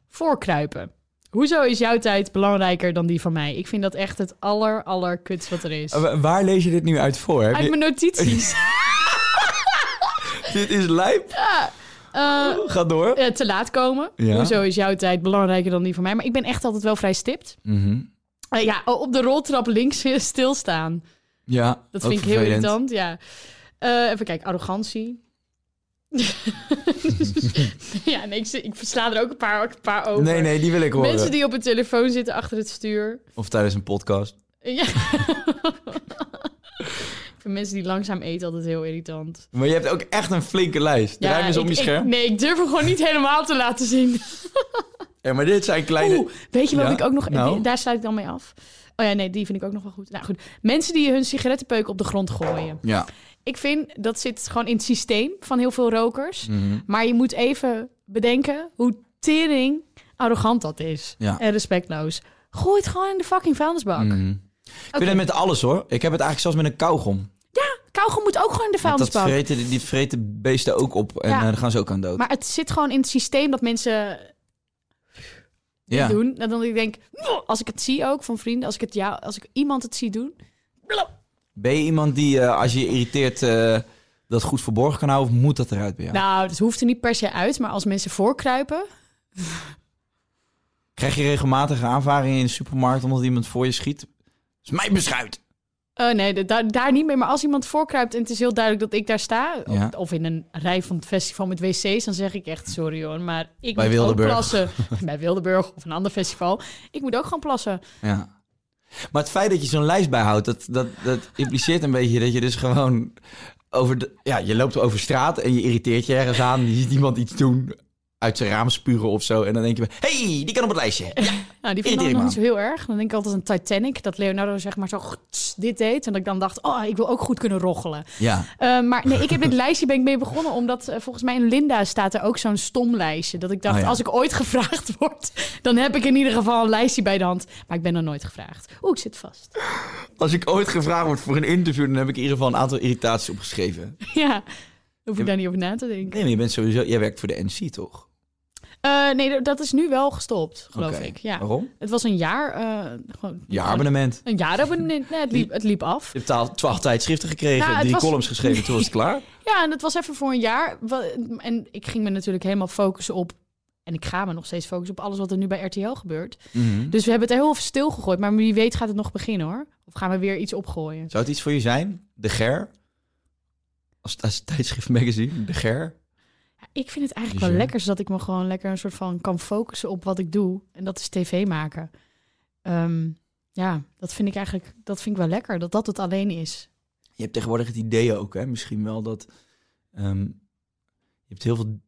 voorkruipen. Hoezo is jouw tijd belangrijker dan die van mij? Ik vind dat echt het aller, aller kuts wat er is.
Eh, wa- Waar lees je dit nu uit voor? Heb
Uit mijn
je,
notities.
dit is lijp.
Eh,
Ga door.
eh, te laat komen.
Ja.
Hoezo is jouw tijd belangrijker dan die van mij? Maar ik ben echt altijd wel vrij stipt.
Mhm.
Eh, ja, op de roltrap links stilstaan.
Ja,
Dat
ook
vind ik heel
vervelend.
irritant, ja. Eh, even kijken, arrogantie. ja, nee, ik, zi- ik versla er ook een paar, een paar over.
Nee, nee, die wil ik horen.
Mensen die op hun telefoon zitten achter het stuur.
Of tijdens een podcast.
Ja. ik vind mensen die langzaam eten altijd heel irritant.
Maar je hebt ook echt een flinke lijst.
Ja,
Ruim eens op
ik-
je
ik-
scherm.
nee, ik durf hem gewoon niet helemaal te laten zien.
Ja, maar dit zijn kleine...
Oeh, weet je wat
Ja,
ik ook nog...
nou.
Daar sluit ik dan mee af. Oh ja, nee, die vind ik ook nog wel goed. Nou goed, mensen die hun sigarettenpeuk op de grond gooien.
Ja.
Ik vind dat zit gewoon in het systeem van heel veel rokers.
Mhm.
Maar je moet even bedenken hoe tering arrogant dat is.
Ja. Mhm.
En respectloos. Gooi het gewoon in de fucking vuilnisbak.
Ik vind het met alles hoor. Ik heb het eigenlijk zelfs met een kauwgom.
Kauwgom moet ook gewoon in de
Want Dat
vuilnisbak.
vreten, die- die vreten beesten ook op. En
Ja.
eh, daar gaan ze ook aan dood.
Maar het zit gewoon in het systeem dat mensen
ja.
doen. En dan ik denk, als ik het zie ook van vrienden, als ik, het jou, als ik iemand het zie doen.
Ben je iemand die, eh, als je je irriteert, eh, dat goed verborgen kan houden? Of moet dat eruit bij jou?
Nou, dat hoeft er niet per se uit. Maar als mensen voorkruipen,
Krijg je regelmatig aanvaringen in de supermarkt omdat iemand voor je schiet? Dat is mijn beschuit.
Oh nee, da- daar- daar niet mee. Maar als iemand voorkruipt en het is heel duidelijk dat ik daar sta... of-
Ja.
Of, in een rij van het festival met wc's... dan zeg ik echt, sorry hoor, maar ik
Bij
moet
Wildeburg.
ook plassen. bij Wildeburg of een ander festival. Ik moet ook gewoon plassen.
Ja. Maar het feit dat je zo'n lijst bijhoudt, dat, dat, dat impliceert een beetje dat je dus gewoon over de, ja, je loopt over straat en je irriteert je ergens aan. Je ziet iemand iets doen, uit zijn raam spuren of zo. En dan denk je, hé, hey, die kan op het lijstje. Ja.
Nou, die vind ik
Irriteer
dan nog
me
niet zo heel erg. Dan denk ik altijd aan Titanic, dat Leonardo zeg maar zo gts, dit deed. En dat ik dan dacht, oh, ik wil ook goed kunnen roggelen.
ja.
Eh, maar nee, ik heb dit lijstje ben ik mee begonnen, omdat eh, volgens mij in Linda staat er ook zo'n stom lijstje. Dat ik dacht,
Oh ja.
als ik ooit gevraagd word, dan heb ik in ieder geval een lijstje bij de hand. Maar ik ben nog nooit gevraagd. Oeh, ik zit vast.
Als ik ooit gevraagd word voor een interview, dan heb ik in ieder geval een aantal irritaties opgeschreven.
ja, dan hoef ik daar niet over na te denken.
Nee, maar je bent sowieso, jij werkt voor de NC toch?
Eh, nee, d- dat is nu wel gestopt, geloof
Oké.
ik. Ja.
Waarom?
Het was een jaar. eh gewoon,
Je abonnement.
Een jaarabonnement. Nee, het, liep, het liep af.
Je hebt taal- twaalf tijdschriften gekregen,
Nou, het
drie
was-
columns geschreven, toen was het klaar.
Ja, en dat was even voor een jaar. Wa- En ik ging me natuurlijk helemaal focussen op. En ik ga me nog steeds focussen op alles wat er nu bij RTL gebeurt.
Mhm.
Dus we hebben het heel even stilgegooid. Maar wie weet gaat het nog beginnen hoor. Of gaan we weer iets opgooien?
Zou het iets voor je zijn? De Ger? Als, als tijdschrift magazine, De Ger?
Ja, ik vind het eigenlijk
Dus
wel
ja.
lekker, zodat ik me gewoon lekker een soort van kan focussen op wat ik doe. En dat is tv maken. Ehm, ja, dat vind ik eigenlijk dat vind ik wel lekker. Dat dat het alleen is.
Je hebt tegenwoordig het idee ook, hè? misschien wel dat... ehm, je hebt heel veel,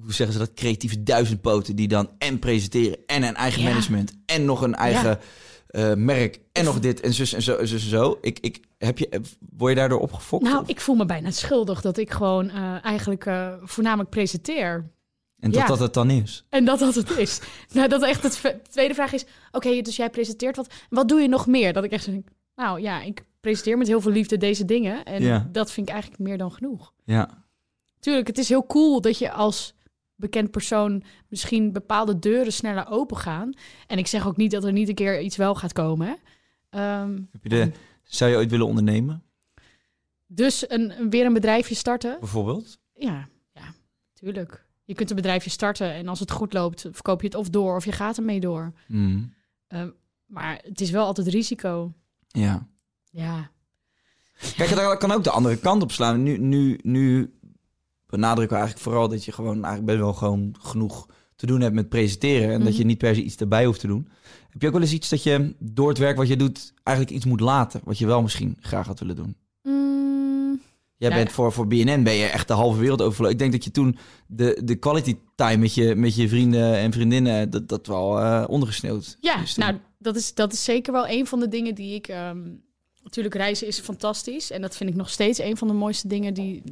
hoe zeggen ze dat, creatieve duizendpoten... die dan en presenteren en een eigen
Ja.
management... en nog een eigen eh, merk en nog dit en zus en zo. En zus en zo. Ik, ik, heb je, word je daardoor opgefokt?
Nou,
Of-
ik voel me bijna schuldig dat ik gewoon eh, eigenlijk eh, voornamelijk presenteer.
en dat
ja.
dat het dan is?
En dat dat het is. nou, dat echt het ve- tweede vraag is... Oké, dus jij presenteert wat. Wat doe je nog meer? Dat ik echt zo denk... Nou ja, ik presenteer met heel veel liefde deze dingen. En
Ja.
dat vind ik eigenlijk meer dan genoeg.
Ja.
Tuurlijk, het is heel cool dat je als bekend persoon misschien bepaalde deuren sneller open gaan. En ik zeg ook niet dat er niet een keer iets wel gaat komen. Hè? Ehm,
Heb je de, zou je ooit willen ondernemen,
dus een, een- weer een bedrijfje starten.
bijvoorbeeld?
Ja, ja, tuurlijk. Je kunt een bedrijfje starten en als het goed loopt, verkoop je het of door of je gaat ermee door.
Hmm,
Ehm, maar het is wel altijd risico.
Ja.
Ja.
Kijk, dat kan ook de andere kant op slaan. Nu, nu, nu benadrukken we eigenlijk vooral dat je gewoon eigenlijk best wel gewoon genoeg te doen hebt met presenteren. En dat
Mhm.
je niet per se iets erbij hoeft te doen. Heb je ook wel eens iets dat je door het werk wat je doet eigenlijk iets moet laten? Wat je wel misschien graag had willen doen?
Mm,
Jij
Ja.
bent voor, voor BNN ben je echt de halve wereld overvlogen. Ik denk dat je toen de, de quality time met je, met je vrienden en vriendinnen, dat, dat wel eh, ondergesneeuwd
ja,
is toen.
nou, dat is, dat is zeker wel een van de dingen die ik... ehm, natuurlijk, reizen is fantastisch. En dat vind ik nog steeds een van de mooiste dingen die...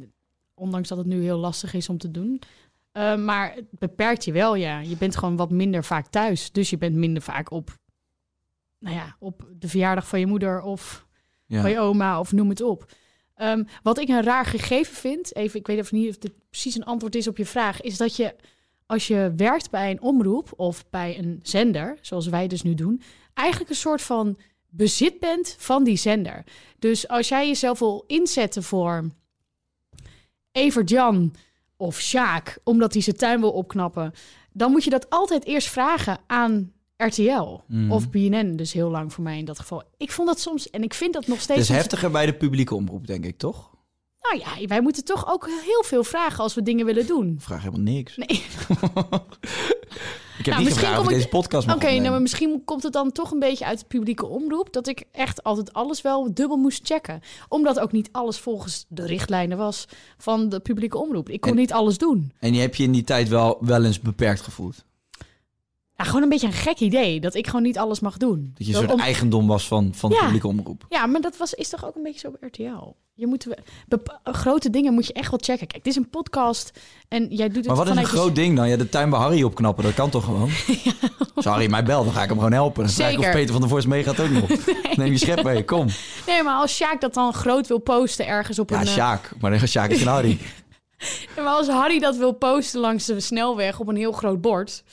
Ondanks dat het nu heel lastig is om te doen. Eh, maar het beperkt je wel, ja. Je bent gewoon wat minder vaak thuis. Dus je bent minder vaak op... Nou ja, op de verjaardag van je moeder of
ja.
van je oma of noem het op. Ehm, wat ik een raar gegeven vind, even, ik weet of niet of dit precies een antwoord is op je vraag, is dat je als je werkt bij een omroep of bij een zender, zoals wij dus nu doen, eigenlijk een soort van bezit bent van die zender. Dus als jij jezelf wil inzetten voor Evert Jan of Sjaak, omdat hij zijn tuin wil opknappen, dan moet je dat altijd eerst vragen aan RTL
Mhm.
of BNN, dus heel lang voor mij in dat geval. Ik vond dat soms, en ik vind dat nog
Het
steeds...
is
soms-
heftiger bij de publieke omroep, denk ik, toch?
Nou ja, wij moeten toch ook heel veel vragen als we dingen willen doen.
Ik vraag helemaal niks.
Nee.
ik heb
Nou,
niet
misschien
gevraagd of
kom
ik
ik-
deze podcast
Oké,
mag opnemen.
nou, maar misschien komt het dan toch een beetje uit de publieke omroep dat ik echt altijd alles wel dubbel moest checken, omdat ook niet alles volgens de richtlijnen was van de publieke omroep. Ik kon
En-
niet alles doen.
En je heb je in die tijd wel, wel eens beperkt gevoeld.
Ja, gewoon een beetje een gek idee dat ik gewoon niet alles mag doen.
Dat je een
Dat
soort
om-
eigendom was van, van de
Ja. Dus
publieke omroep.
Ja, maar dat was, is toch ook een beetje zo bij RTL. Je moet we- bepa- grote dingen moet je echt wel checken. Kijk, dit is een podcast en jij doet het
Maar wat is een
vanuit je-
groot ding dan? Ja, de tuin bij Harry opknappen, dat kan toch gewoon? Als Harry mij belt, dan ga ik hem gewoon helpen. Dan vraag ik of
Zeker.
Peter van der Voorst meegaat ook nog. Neem je schep mee, kom.
Nee, maar als Sjaak dat dan groot wil posten ergens op
Ja,
een eh,
Sjaak. Maar dan Sjaak is een Harry.
Ja, maar als Harry dat wil posten langs de snelweg op een heel groot bord,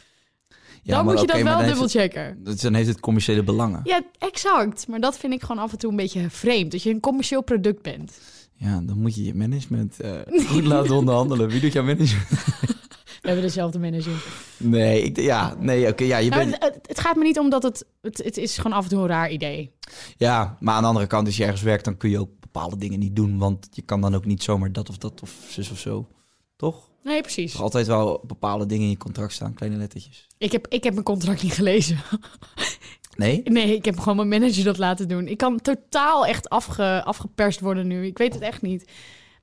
Ja,
dan
maar
moet je
oké, maar
dat wel
dan heeft
dubbel
het-
checken.
dat- Dan heeft het commerciële belangen.
Ja, exact. Maar dat vind ik gewoon af en toe een beetje vreemd. Dat je een commercieel product bent.
Ja, dan moet je je management eh, goed laten onderhandelen. Wie doet jouw management?
We hebben dezelfde manager.
Nee, ik, ja, nee, oké. ja, je
Nou,
bent,
het, het gaat me niet om dat het, het... Het is gewoon af en toe een raar idee.
Ja, maar aan de andere kant, als je ergens werkt, dan kun je ook bepaalde dingen niet doen. Want je kan dan ook niet zomaar dat of dat of zus of zo. Toch?
Nee,
Er
precies.
is altijd wel bepaalde dingen in je contract staan, kleine lettertjes.
Ik heb, ik heb mijn contract niet gelezen.
Nee?
Nee, ik heb gewoon mijn manager dat laten doen. Ik kan totaal echt afge, afgeperst worden nu. Ik weet het echt niet.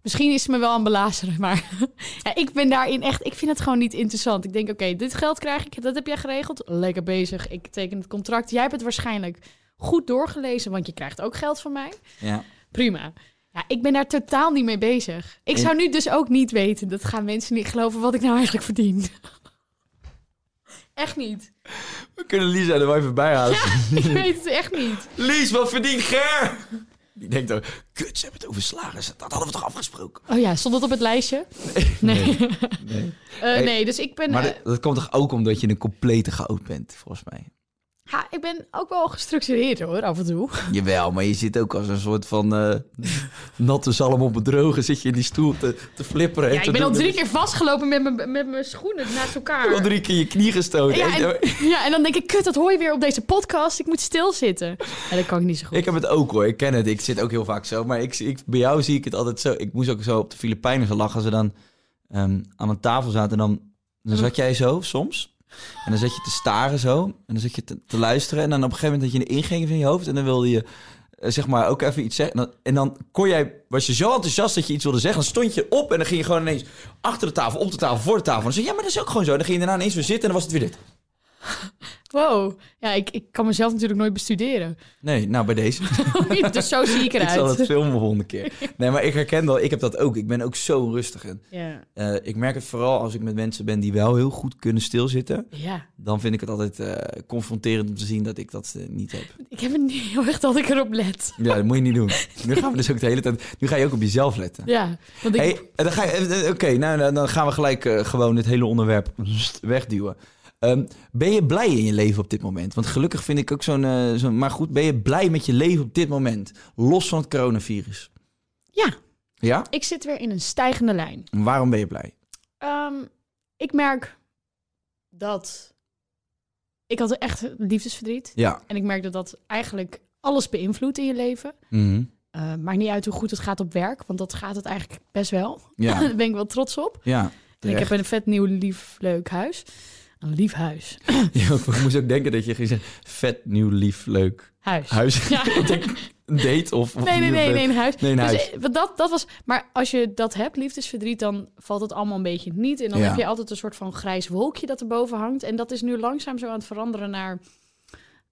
Misschien is het me wel aan belazeren, maar ja, ik ben daarin echt... Ik vind het gewoon niet interessant. Ik denk, oké, dit geld krijg ik, dat heb jij geregeld. Lekker bezig, ik teken het contract. Jij hebt het waarschijnlijk goed doorgelezen, want je krijgt ook geld van mij.
Ja.
Prima. Ja, ik ben daar totaal niet mee bezig. Ik
En-
zou nu dus ook niet weten, dat gaan mensen niet geloven, wat ik nou eigenlijk verdien. Echt niet.
We kunnen Lisa er wel even bij houden.
Ik weet het echt niet.
Lies, wat verdient Ger? Die denkt ook, kut, ze hebben het over salaris. Dat hadden we toch afgesproken?
Oh ja, stond dat op het lijstje? Nee. Eh, nee, dus ik ben,
Maar
eh,
dat, dat komt toch ook omdat je een complete chaot bent, volgens mij?
ha, ik ben ook wel gestructureerd hoor, af en toe.
Jawel, maar je zit ook als een soort van eh, natte zalm op bedrogen. Zit je in die stoel te, te flipperen. en
Ja,
te
ik ben al
doen.
drie keer vastgelopen met mijn- met mijn schoenen naast elkaar.
Al drie keer je knie gestoten.
Ja
Ik-
en, ja, en dan denk ik, kut, dat hoor je weer op deze podcast. Ik moet stilzitten. En dat kan ik niet zo goed.
Ik heb het ook hoor, ik ken het. Ik zit ook heel vaak zo. Maar ik, ik, bij jou zie ik het altijd zo. Ik moest ook zo op de Filipijnen zo lachen. Als ze dan ehm, aan een tafel zaten. En dan, dan zat jij zo soms. En dan zat je te staren zo. En dan zat je te, te luisteren. En dan op een gegeven moment had je een ingeving in je hoofd. En dan wilde je eh, zeg maar ook even iets zeggen. En dan, en dan kon jij, was je zo enthousiast dat je iets wilde zeggen. Dan stond je op en dan ging je gewoon ineens achter de tafel, op de tafel, voor de tafel. En dan zei je, ja, maar dat is ook gewoon zo. En dan ging je daarna ineens weer zitten en dan was het weer dit.
Wow. Ja, ik, ik kan mezelf natuurlijk nooit bestuderen.
Nee, nou bij deze.
dus zo zie ik
ik zal
eruit.
het filmen de volgende keer. Nee, maar ik herken wel, ik heb dat ook. Ik ben ook zo rustig. En,
Ja.
eh, ik merk het vooral als ik met mensen ben die wel heel goed kunnen stilzitten.
ja.
Dan vind ik het altijd eh, confronterend om te zien dat ik dat eh, niet heb.
Ik heb het niet heel erg dat ik erop let.
Ja, dat moet je niet doen. Nu gaan we dus ook de hele tijd. Nu ga je ook op jezelf letten.
Ja, want ik...
Hey, eh, dan ga je- eh, eh, Oké, nou, nou, dan gaan we gelijk eh, gewoon het hele onderwerp wegduwen. Ehm, ben je blij in je leven op dit moment? Want gelukkig vind ik ook zo'n... eh, zo'n- maar goed, ben je blij met je leven op dit moment? Los van het coronavirus.
Ja,
Ja?
ik zit weer in een stijgende lijn.
En Waarom ben je blij?
Ehm, ik merk dat... Ik had echt liefdesverdriet.
Ja.
En ik merk dat dat eigenlijk alles beïnvloedt in je leven.
Mhm.
Eh, maakt niet uit hoe goed het gaat op werk, want dat gaat het eigenlijk best wel.
Ja.
Daar ben ik wel trots op.
Ja.
En ik heb een vet nieuw, lief, leuk huis. Een lief huis.
Ja, ik moest ook denken dat je ging zeggen... Vet, nieuw, lief, leuk
Huis.
huis.
Ja.
Ik denk, een date of... of
Nee, nee, nee,
een-
nee, een huis.
Nee, een
Dus,
huis.
eh, want dat, dat was, maar als je dat hebt, liefdesverdriet, dan valt het allemaal een beetje niet. En dan
Ja.
heb je altijd een soort van grijs wolkje dat erboven hangt. En dat is nu langzaam zo aan het veranderen naar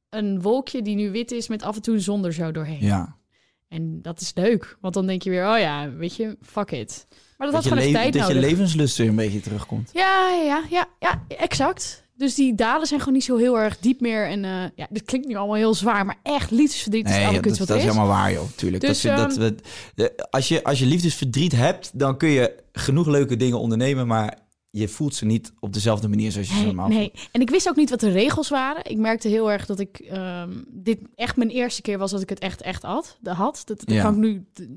een wolkje die nu wit is met af en toe een zon er zo doorheen.
Ja.
En dat is leuk, want dan denk je weer, oh ja, weet je, fuck it. Maar dat,
Dat,
had
je,
gewoon even
le-
tijd
dat je
nodig.
levenslust weer een beetje terugkomt.
Ja, ja, ja, ja, exact. Dus die dalen zijn gewoon niet zo heel erg diep meer. En eh, ja, dit klinkt nu allemaal heel zwaar, maar echt liefdesverdriet is het
ja,
alle
dat,
kut wat
dat
er
is
is.
helemaal waar, joh. Tuurlijk.
Dus,
dat, dat,
ehm,
we- de- als, je, als je liefdesverdriet hebt, dan kun je genoeg leuke dingen ondernemen, maar je voelt ze niet op dezelfde manier zoals je ze
Nee,
normaal
nee.
voelt.
En ik wist ook niet wat de regels waren. Ik merkte heel erg dat ik ehm, dit echt mijn eerste keer was dat ik het echt, echt had. De had. Dat, dat
Ja.
kan ik nu, d-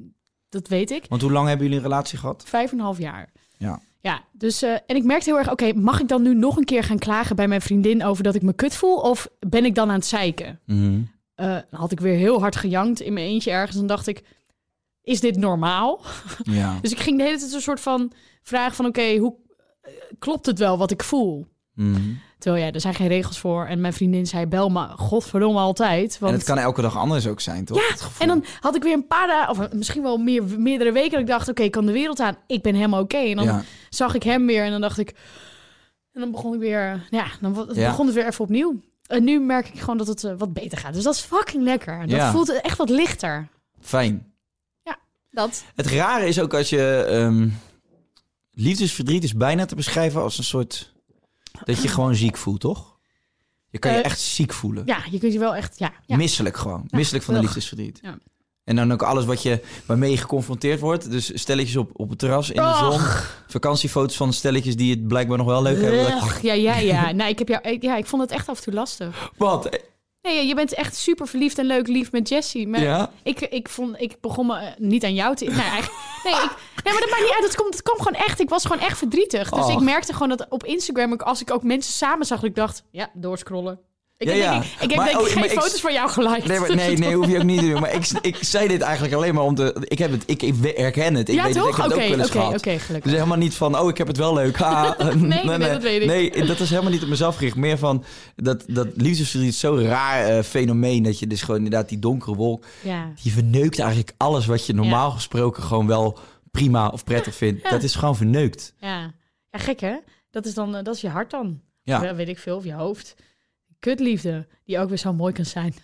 dat weet ik.
Want hoe lang hebben jullie een relatie gehad?
Vijf en een half jaar.
Ja.
Ja, dus eh, en ik merkte heel erg, oké, mag ik dan nu nog een keer gaan klagen bij mijn vriendin over dat ik me kut voel? Of ben ik dan aan het zeiken?
Mhm.
Eh, dan had ik weer heel hard gejankt in mijn eentje ergens. En dacht ik, is dit normaal?
Ja.
Dus ik ging de hele tijd een soort van vraag van... oké, hoe eh, klopt het wel wat ik voel?
Mhm.
Terwijl ja, er zijn geen regels voor. En mijn vriendin zei, bel me godverdomme altijd.
En
Want...
het kan elke dag anders ook zijn, toch? Het gevoel.
en dan had ik weer een paar dagen, of misschien wel meer, meerdere weken... dat ik dacht, oké, ik kan de wereld aan. Ik ben helemaal oké. En dan
Ja.
zag ik hem weer en dan dacht ik... En dan begon ik weer... Ja, dan wa-
Ja.
begon het weer even opnieuw. En nu merk ik gewoon dat het eh, wat beter gaat. Dus dat is fucking lekker. Dat
Ja.
voelt echt wat lichter.
Fijn.
Dat.
Het rare is ook als je... ehm, liefdesverdriet is bijna te beschrijven als een soort... Dat je gewoon ziek voelt, toch? Je kan je
Eh,
echt ziek voelen.
Ja, je kunt je wel echt. Ja, ja.
Misselijk gewoon. Misselijk van de
ugh.
liefdesverdriet.
Ja.
En dan ook alles wat je, waarmee je geconfronteerd wordt. Dus stelletjes op, op het terras, in de
Ugh.
zon. Vakantiefoto's van stelletjes die het blijkbaar nog wel leuk hebben.
Ugh, ja, ja, ja. Nou, ik heb jou. ik- Ja, ik vond het echt af en toe lastig.
Wat?
Nee, ja, je bent echt super verliefd en leuk lief met Jessie. Maar
Ja?
ik, ik, vond, ik begon me eh, niet aan jou te. Nou, eigenlijk, nee, ik, nee, maar dat maakt niet uit. Het komt, het kwam gewoon echt. Ik was gewoon echt verdrietig. Dus
Och.
ik merkte gewoon dat op Instagram, ik, als ik ook mensen samen zag, dat ik dacht, ja, doorscrollen. Ik
Ja,
denk,
ja.
ik, ik denk
Maar-
dat ik
oh,
geen
maar ik-
foto's van jou geliked.
Nee, maar- nee, nee, hoef je ook niet te doen. Maar ik, ik zei dit eigenlijk alleen maar om te... Ik, heb het, ik, ik herken het. Ik
ja,
weet het, ik
toch?
heb het ook
Oké,
wel eens
oké,
gehad.
oké,
Dus
gelukkig.
helemaal niet van, oh, ik heb het wel leuk. Ha.
nee, dat weet ik.
Nee, dat is helemaal niet op mezelf gericht. Meer van dat, dat liefdesverdriet is zo'n raar eh, fenomeen... dat je dus gewoon inderdaad die donkere wolk...
Ja.
Je verneukt eigenlijk alles wat je normaal gesproken gewoon wel prima of prettig vindt. Dat is gewoon verneukt.
Ja. ja, gek hè? Dat is dan, eh, dat is je hart dan.
Ja.
Ja, weet ik veel, of je hoofd. Kutliefde, die ook weer zo mooi kan zijn.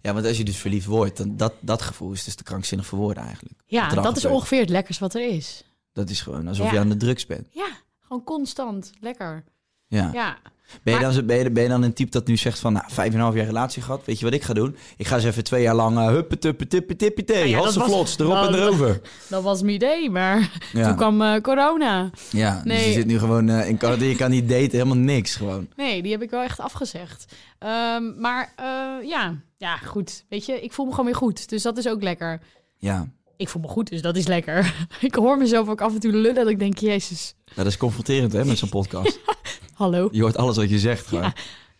ja, want als je dus verliefd wordt, dan dat, dat gevoel is dus te krankzinnig voor woorden eigenlijk.
Ja,
Wat er dan
dat is
gebeurt.
ongeveer het lekkers wat er is.
Dat is gewoon alsof
Ja.
je aan de drugs bent.
Ja, gewoon constant, lekker.
Ja.
Ja,
Ben, je dan, zo- ben, je, ben je dan een type dat nu zegt van, nou, vijf en een half jaar relatie gehad, weet je wat ik ga doen? Ik ga eens even twee jaar lang eh, huppe, tuppe, tippe, tippe, thee,
Nou ja, dat
hasse
was-
vlots, erop
Nou,
en
dat-
erover.
dat was mijn idee, maar
Ja,
toen kwam eh, corona.
ja dus je
Nee.
zit nu gewoon eh, in quarantaine, je kan niet daten, helemaal niks gewoon.
Nee, die heb ik wel echt afgezegd. Ehm, maar eh, ja. ja, goed. Weet je, ik voel me gewoon weer goed, dus dat is ook lekker.
Ja,
Ik voel me goed, dus dat is lekker. ik hoor mezelf ook af en toe lullen dat ik denk, jezus,
Nou, dat is confronterend hè, met zo'n podcast.
hallo.
Je hoort alles wat je zegt gewoon.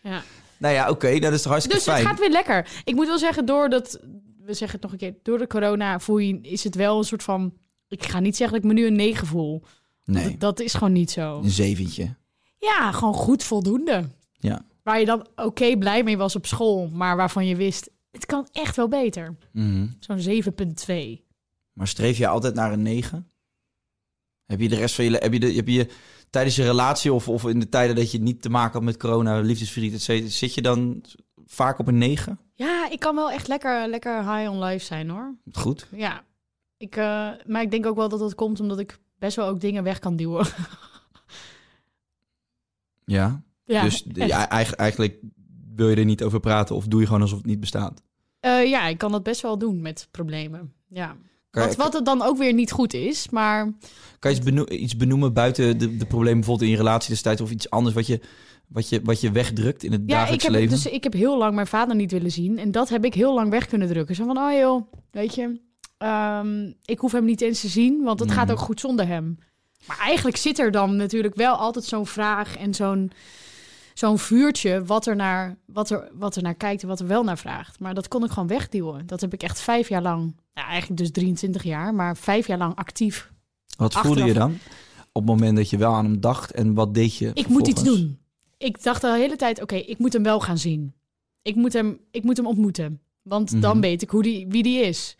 Ja.
Nou ja, oké, dat is toch hartstikke
Dus
fijn.
het gaat weer lekker. Ik moet wel zeggen, doordat, we zeggen het nog een keer, door de corona voel je, is het wel een soort van, ik ga niet zeggen dat ik me nu een negen voel.
Nee,
Dat, dat is gewoon niet zo.
een zeventje.
Ja, gewoon goed voldoende.
Ja.
Waar je dan oké blij mee was op school, maar waarvan je wist, het kan echt wel beter.
Mhm.
Zo'n 7,2.
Maar streef je altijd naar een 9? Heb je de rest van je... le- Heb je, de, heb je tijdens je relatie of, of in de tijden dat je niet te maken had met corona, liefdesverdriet, et cetera, zit je dan vaak op een negen?
Ja, ik kan wel echt lekker, lekker high on life zijn hoor.
Goed.
Ja. Ik, eh, maar ik denk ook wel dat dat komt omdat ik best wel ook dingen weg kan duwen.
Ja.
ja,
dus de-
echt.
ja, eigenlijk, eigenlijk wil je er niet over praten of doe je gewoon alsof het niet bestaat.
Eh, ja, ik kan dat best wel doen met problemen. Ja.
Kan,
Wat,
je-
wat het dan ook weer niet goed is, maar
kan je iets, beno- iets benoemen buiten de, de problemen bijvoorbeeld in je relatie destijds of iets anders wat je, wat je, wat je wegdrukt in het
ja, ik
dagelijks
heb,
leven?
dus ik heb heel lang mijn vader niet willen zien. En dat heb ik heel lang weg kunnen drukken. Zo van, oh joh, weet je, ehm, ik hoef hem niet eens te zien, want het
Mhm.
gaat ook goed zonder hem. Maar eigenlijk zit er dan natuurlijk wel altijd zo'n vraag en zo'n zo'n vuurtje wat er, naar, wat, er, wat er naar kijkt en wat er wel naar vraagt. Maar dat kon ik gewoon wegduwen. Dat heb ik echt vijf jaar lang, nou, eigenlijk dus 23 jaar, maar vijf jaar lang actief.
Wat voelde je
achteraf-
dan op het moment dat je wel aan hem dacht en wat deed je?
Ik moet iets
vervolgens?
doen. Ik dacht de hele tijd, oké, ik moet hem wel gaan zien. Ik moet hem, ik moet hem ontmoeten. Want
Mhm.
dan weet ik hoe die, wie die is.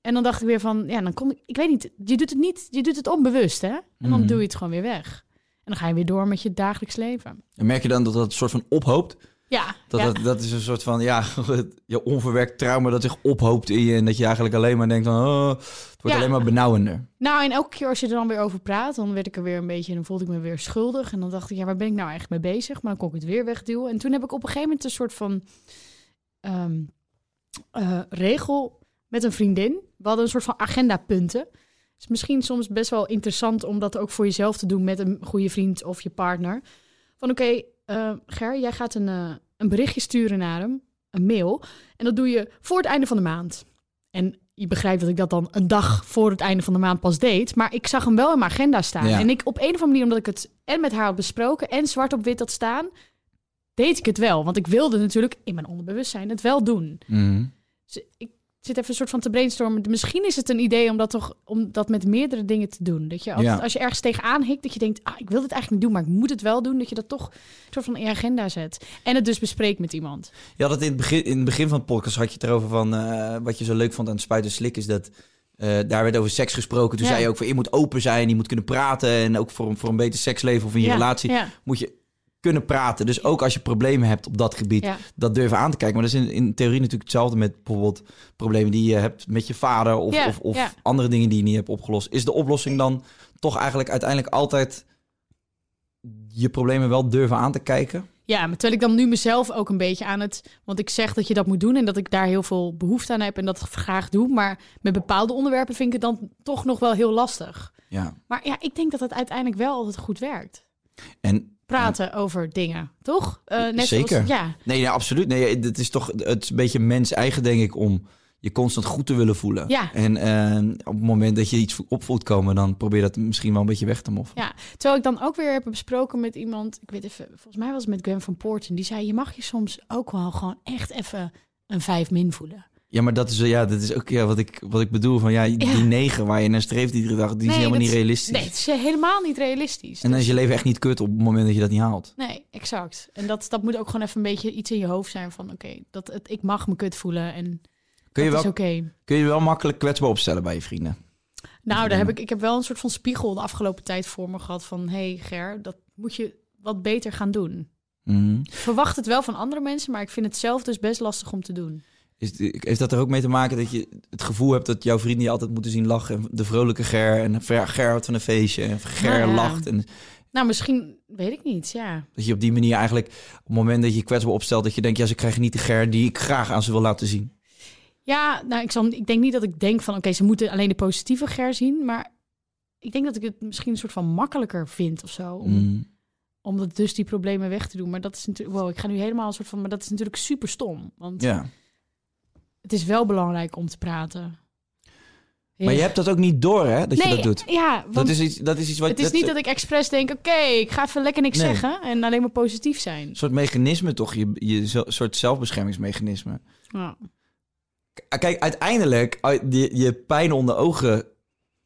En dan dacht ik weer van, ja, dan kom ik... Ik weet niet, je doet het niet, je doet het onbewust, hè? En dan
Mhm.
doe je het gewoon weer weg. En dan ga je weer door met je dagelijks leven.
En merk je dan dat dat een soort van ophoopt?
Ja,
Dat,
ja.
dat, dat is een soort van, ja, je onverwerkt trauma dat zich ophoopt in je. En dat je eigenlijk alleen maar denkt van, oh, het
Ja.
wordt alleen maar benauwender.
nou, en elke keer als je er dan weer over praat, dan werd ik er weer een beetje... en dan voelde ik me weer schuldig. En dan dacht ik, ja, waar ben ik nou echt mee bezig? Maar dan kon ik het weer wegduwen. En toen heb ik op een gegeven moment een soort van ehm, eh, regel met een vriendin. We hadden een soort van agendapunten. is misschien soms best wel interessant om dat ook voor jezelf te doen met een goede vriend of je partner. Van oké, eh, Ger, jij gaat een, eh, een berichtje sturen naar hem, een mail. En dat doe je voor het einde van de maand. En je begrijpt dat ik dat dan een dag voor het einde van de maand pas deed. Maar ik zag hem wel in mijn agenda staan.
Ja.
En ik op een of andere manier, omdat ik het en met haar had besproken en zwart op wit had staan, deed ik het wel. Want ik wilde natuurlijk in mijn onderbewustzijn het wel doen. Dus ik zit even een soort van te brainstormen. Misschien is het een idee om dat, toch, om dat met meerdere dingen te doen. Dat je altijd,
Ja.
als je ergens tegenaan hikt, dat je denkt... Ah, ik wil dit eigenlijk niet doen, maar ik moet het wel doen. Dat je dat toch een soort van in je agenda zet. En het dus bespreekt met iemand.
Je had het in het begin, in het begin van het podcast had je het erover van eh, wat je zo leuk vond aan het spuiten slik is dat eh, daar werd over seks gesproken. Toen
Ja.
zei je ook van je moet open zijn, je moet kunnen praten en ook voor, een- voor een beter seksleven of in je
Ja,
relatie
ja.
moet je kunnen praten. Dus ook als je problemen hebt op dat gebied,
Ja.
dat durven aan te kijken. Maar dat is in, in theorie natuurlijk hetzelfde met bijvoorbeeld problemen die je hebt met je vader of,
Ja,
of, of
ja.
andere dingen die je niet hebt opgelost. Is de oplossing dan toch eigenlijk uiteindelijk altijd je problemen wel durven aan te kijken?
Ja, maar terwijl ik dan nu mezelf ook een beetje aan het... Want ik zeg dat je dat moet doen en dat ik daar heel veel behoefte aan heb... en dat graag doe. Maar met bepaalde onderwerpen vind ik het dan toch nog wel heel lastig.
Ja.
Maar ja, ik denk dat het uiteindelijk wel altijd goed werkt.
En
Praten over dingen, toch? Eh, net
Zeker.
Zoals, ja,
Nee, ja, absoluut. Nee, het is toch het is een beetje mens eigen, denk ik, om je constant goed te willen voelen.
Ja.
En eh, op het moment dat je iets op voelt komen, dan probeer dat misschien wel een beetje weg te moffen.
Ja, terwijl ik dan ook weer heb besproken met iemand, ik weet even, volgens mij was het met Gwen van Poorten, die zei: je mag je soms ook wel gewoon echt even een vijf min voelen.
Ja, maar dat is, ja, dat is ook ja, wat, ik, wat ik bedoel. Van, ja, die
Ja.
negen waar je naar streeft iedere dag, die is
Nee,
helemaal
dat
niet realistisch.
Nee, het is eh, helemaal niet realistisch.
en dan is je leven echt niet kut op het moment dat je dat niet haalt.
Nee, exact. En dat, dat moet ook gewoon even een beetje iets in je hoofd zijn van, oké, dat het, ik mag me kut voelen en
Kun je,
dat
wel,
is oké.
kun je wel makkelijk kwetsbaar opstellen bij je vrienden.
Nou, daar heb ik, ik heb wel een soort van spiegel de afgelopen tijd voor me gehad van, hé hey Ger, dat moet je wat beter gaan doen.
Mhm.
Ik verwacht het wel van andere mensen, maar ik vind het zelf dus best lastig om te doen.
Is, heeft dat er ook mee te maken dat je het gevoel hebt dat jouw vrienden je altijd moeten zien lachen? En de vrolijke Ger en Ver- Ger houdt van een feestje en Ger
Nou ja.
lacht. En
Nou, misschien, weet ik niet, ja.
Dat je op die manier eigenlijk, op het moment dat je je kwetsbaar opstelt, dat je denkt, ja, ze krijgen niet de ger die ik graag aan ze wil laten zien.
Ja, nou, ik, zal, ik denk niet dat ik denk van... oké, ze moeten alleen de positieve Ger zien. Maar ik denk dat ik het misschien een soort van makkelijker vind of zo.
Mm.
Om,
Mhm.
om dat dus die problemen weg te doen. Maar dat is natuurlijk... Wow, ik ga nu helemaal een soort van... Maar dat is natuurlijk super stom. Want
Ja.
het is wel belangrijk om te praten.
Maar je hebt dat ook niet door, hè, dat je
Nee,
dat doet.
ja, want
Dat is iets, dat is iets wat...
het is niet dat ik expres denk... oké, ik ga even lekker niks
Nee.
zeggen... en alleen maar positief zijn.
Een soort mechanisme toch, je, je zo- soort zelfbeschermingsmechanisme.
Ja.
K- Ah, Kijk, uiteindelijk, uit- je, je pijn onder ogen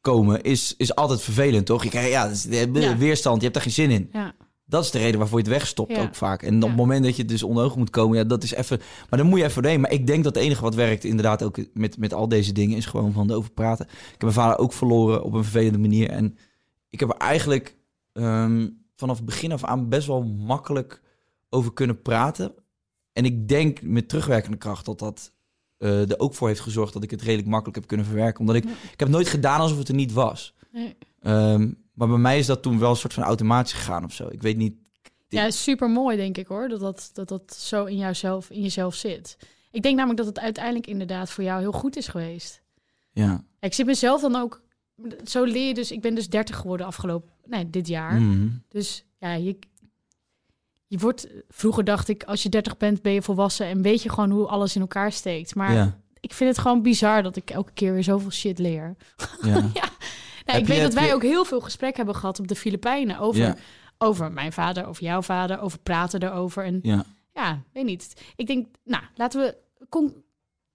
komen is, is altijd vervelend, toch? Je krijgt, ja, dat is- de- de
Ja.
weerstand, je hebt daar geen zin in.
Ja.
Dat is de reden waarvoor je het wegstopt
Ja.
ook vaak. En op
Ja.
het moment dat je het dus onder ogen moet komen, ja, dat is even... Maar dan moet je even doorheen. Maar ik denk dat het enige wat werkt inderdaad ook met, met al deze dingen... is gewoon van erover praten. Ik heb mijn vader ook verloren op een vervelende manier. En ik heb er eigenlijk ehm, vanaf het begin af aan best wel makkelijk over kunnen praten. En ik denk met terugwerkende kracht dat dat eh, er ook voor heeft gezorgd dat ik het redelijk makkelijk heb kunnen verwerken. Omdat ik,
Ja.
ik heb nooit gedaan alsof het er niet was.
Nee.
Ehm, maar bij mij is dat toen wel een soort van automatisch gegaan of zo. Ik weet niet.
Ja, super mooi denk ik hoor. Dat dat, dat dat zo in jouzelf, in jezelf zit. Ik denk namelijk dat het uiteindelijk inderdaad voor jou heel goed is geweest.
Ja.
Ja, ik zit mezelf dan ook. Zo leer je dus. Ik ben dus 30 geworden afgelopen. Nee, dit jaar.
Mhm.
Dus ja, je, je wordt. Vroeger dacht ik, als je 30 bent, ben je volwassen en weet je gewoon hoe alles in elkaar steekt. Maar
ja.
ik vind het gewoon bizar dat ik elke keer weer zoveel shit leer.
ja.
Nou, ik
je-
weet dat
heb
wij
je-
ook heel veel gesprek hebben gehad op de Filipijnen over,
Ja.
over mijn vader, over jouw vader, over praten erover. En ja,
ja.
weet niet. Ik denk, nou, laten we com-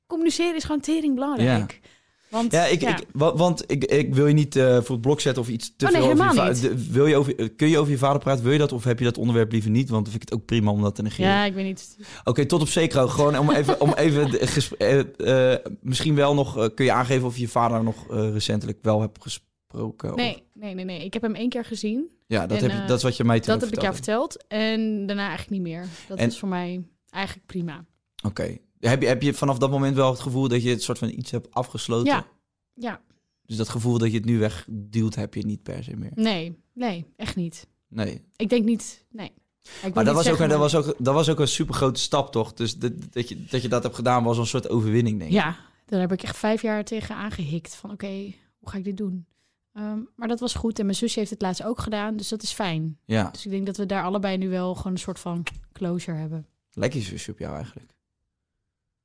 communiceren is gewoon tering belangrijk. Want,
Ja, ik, Ik, wa- want ik, ik wil je niet eh, voor het blok zetten of iets te
Oh, nee,
veel over je
helemaal
va-
niet.
de- wil je over, eh, kun je over je vader praten? Wil je dat of heb je dat onderwerp liever niet? Want dan vind ik het ook prima om dat te negeren.
ja, ik weet niet.
Oké, tot op zekere hoogte. Gewoon om even, om even de gesp- eh, eh, misschien wel nog eh, kun je aangeven of je je vader nog eh, recentelijk wel hebt gesproken. Of-
Nee, nee, nee, nee. Ik heb hem één keer gezien.
ja, dat,
en,
heb je,
eh,
dat is wat je mij toen
dat heb ik jou
verteld
verteld. En daarna eigenlijk niet meer. Dat
En-
is voor mij eigenlijk prima.
hebt. Oké. Heb, je, heb je vanaf dat moment wel het gevoel dat je het soort van iets hebt afgesloten?
Ja. Ja,
Dus dat gevoel dat je het nu wegduwt, heb je niet per se meer.
nee, nee, echt niet.
Nee,
Ik denk niet, nee. Ik wil
Maar
niet
dat was, ook,
zeggen,
dat,
maar-
was ook, dat was ook een super grote stap, toch? Dus dat, dat, je, dat je dat hebt gedaan was een soort overwinning, denk ik.
Ja, daar heb ik echt vijf jaar tegen aangehikt. Van oké, hoe ga ik dit doen? Ehm, maar dat was goed. En mijn zusje heeft het laatst ook gedaan. Dus dat is fijn.
ja.
Dus ik denk dat we daar allebei nu wel gewoon een soort van closure hebben.
Lijkt je zusje op jou eigenlijk?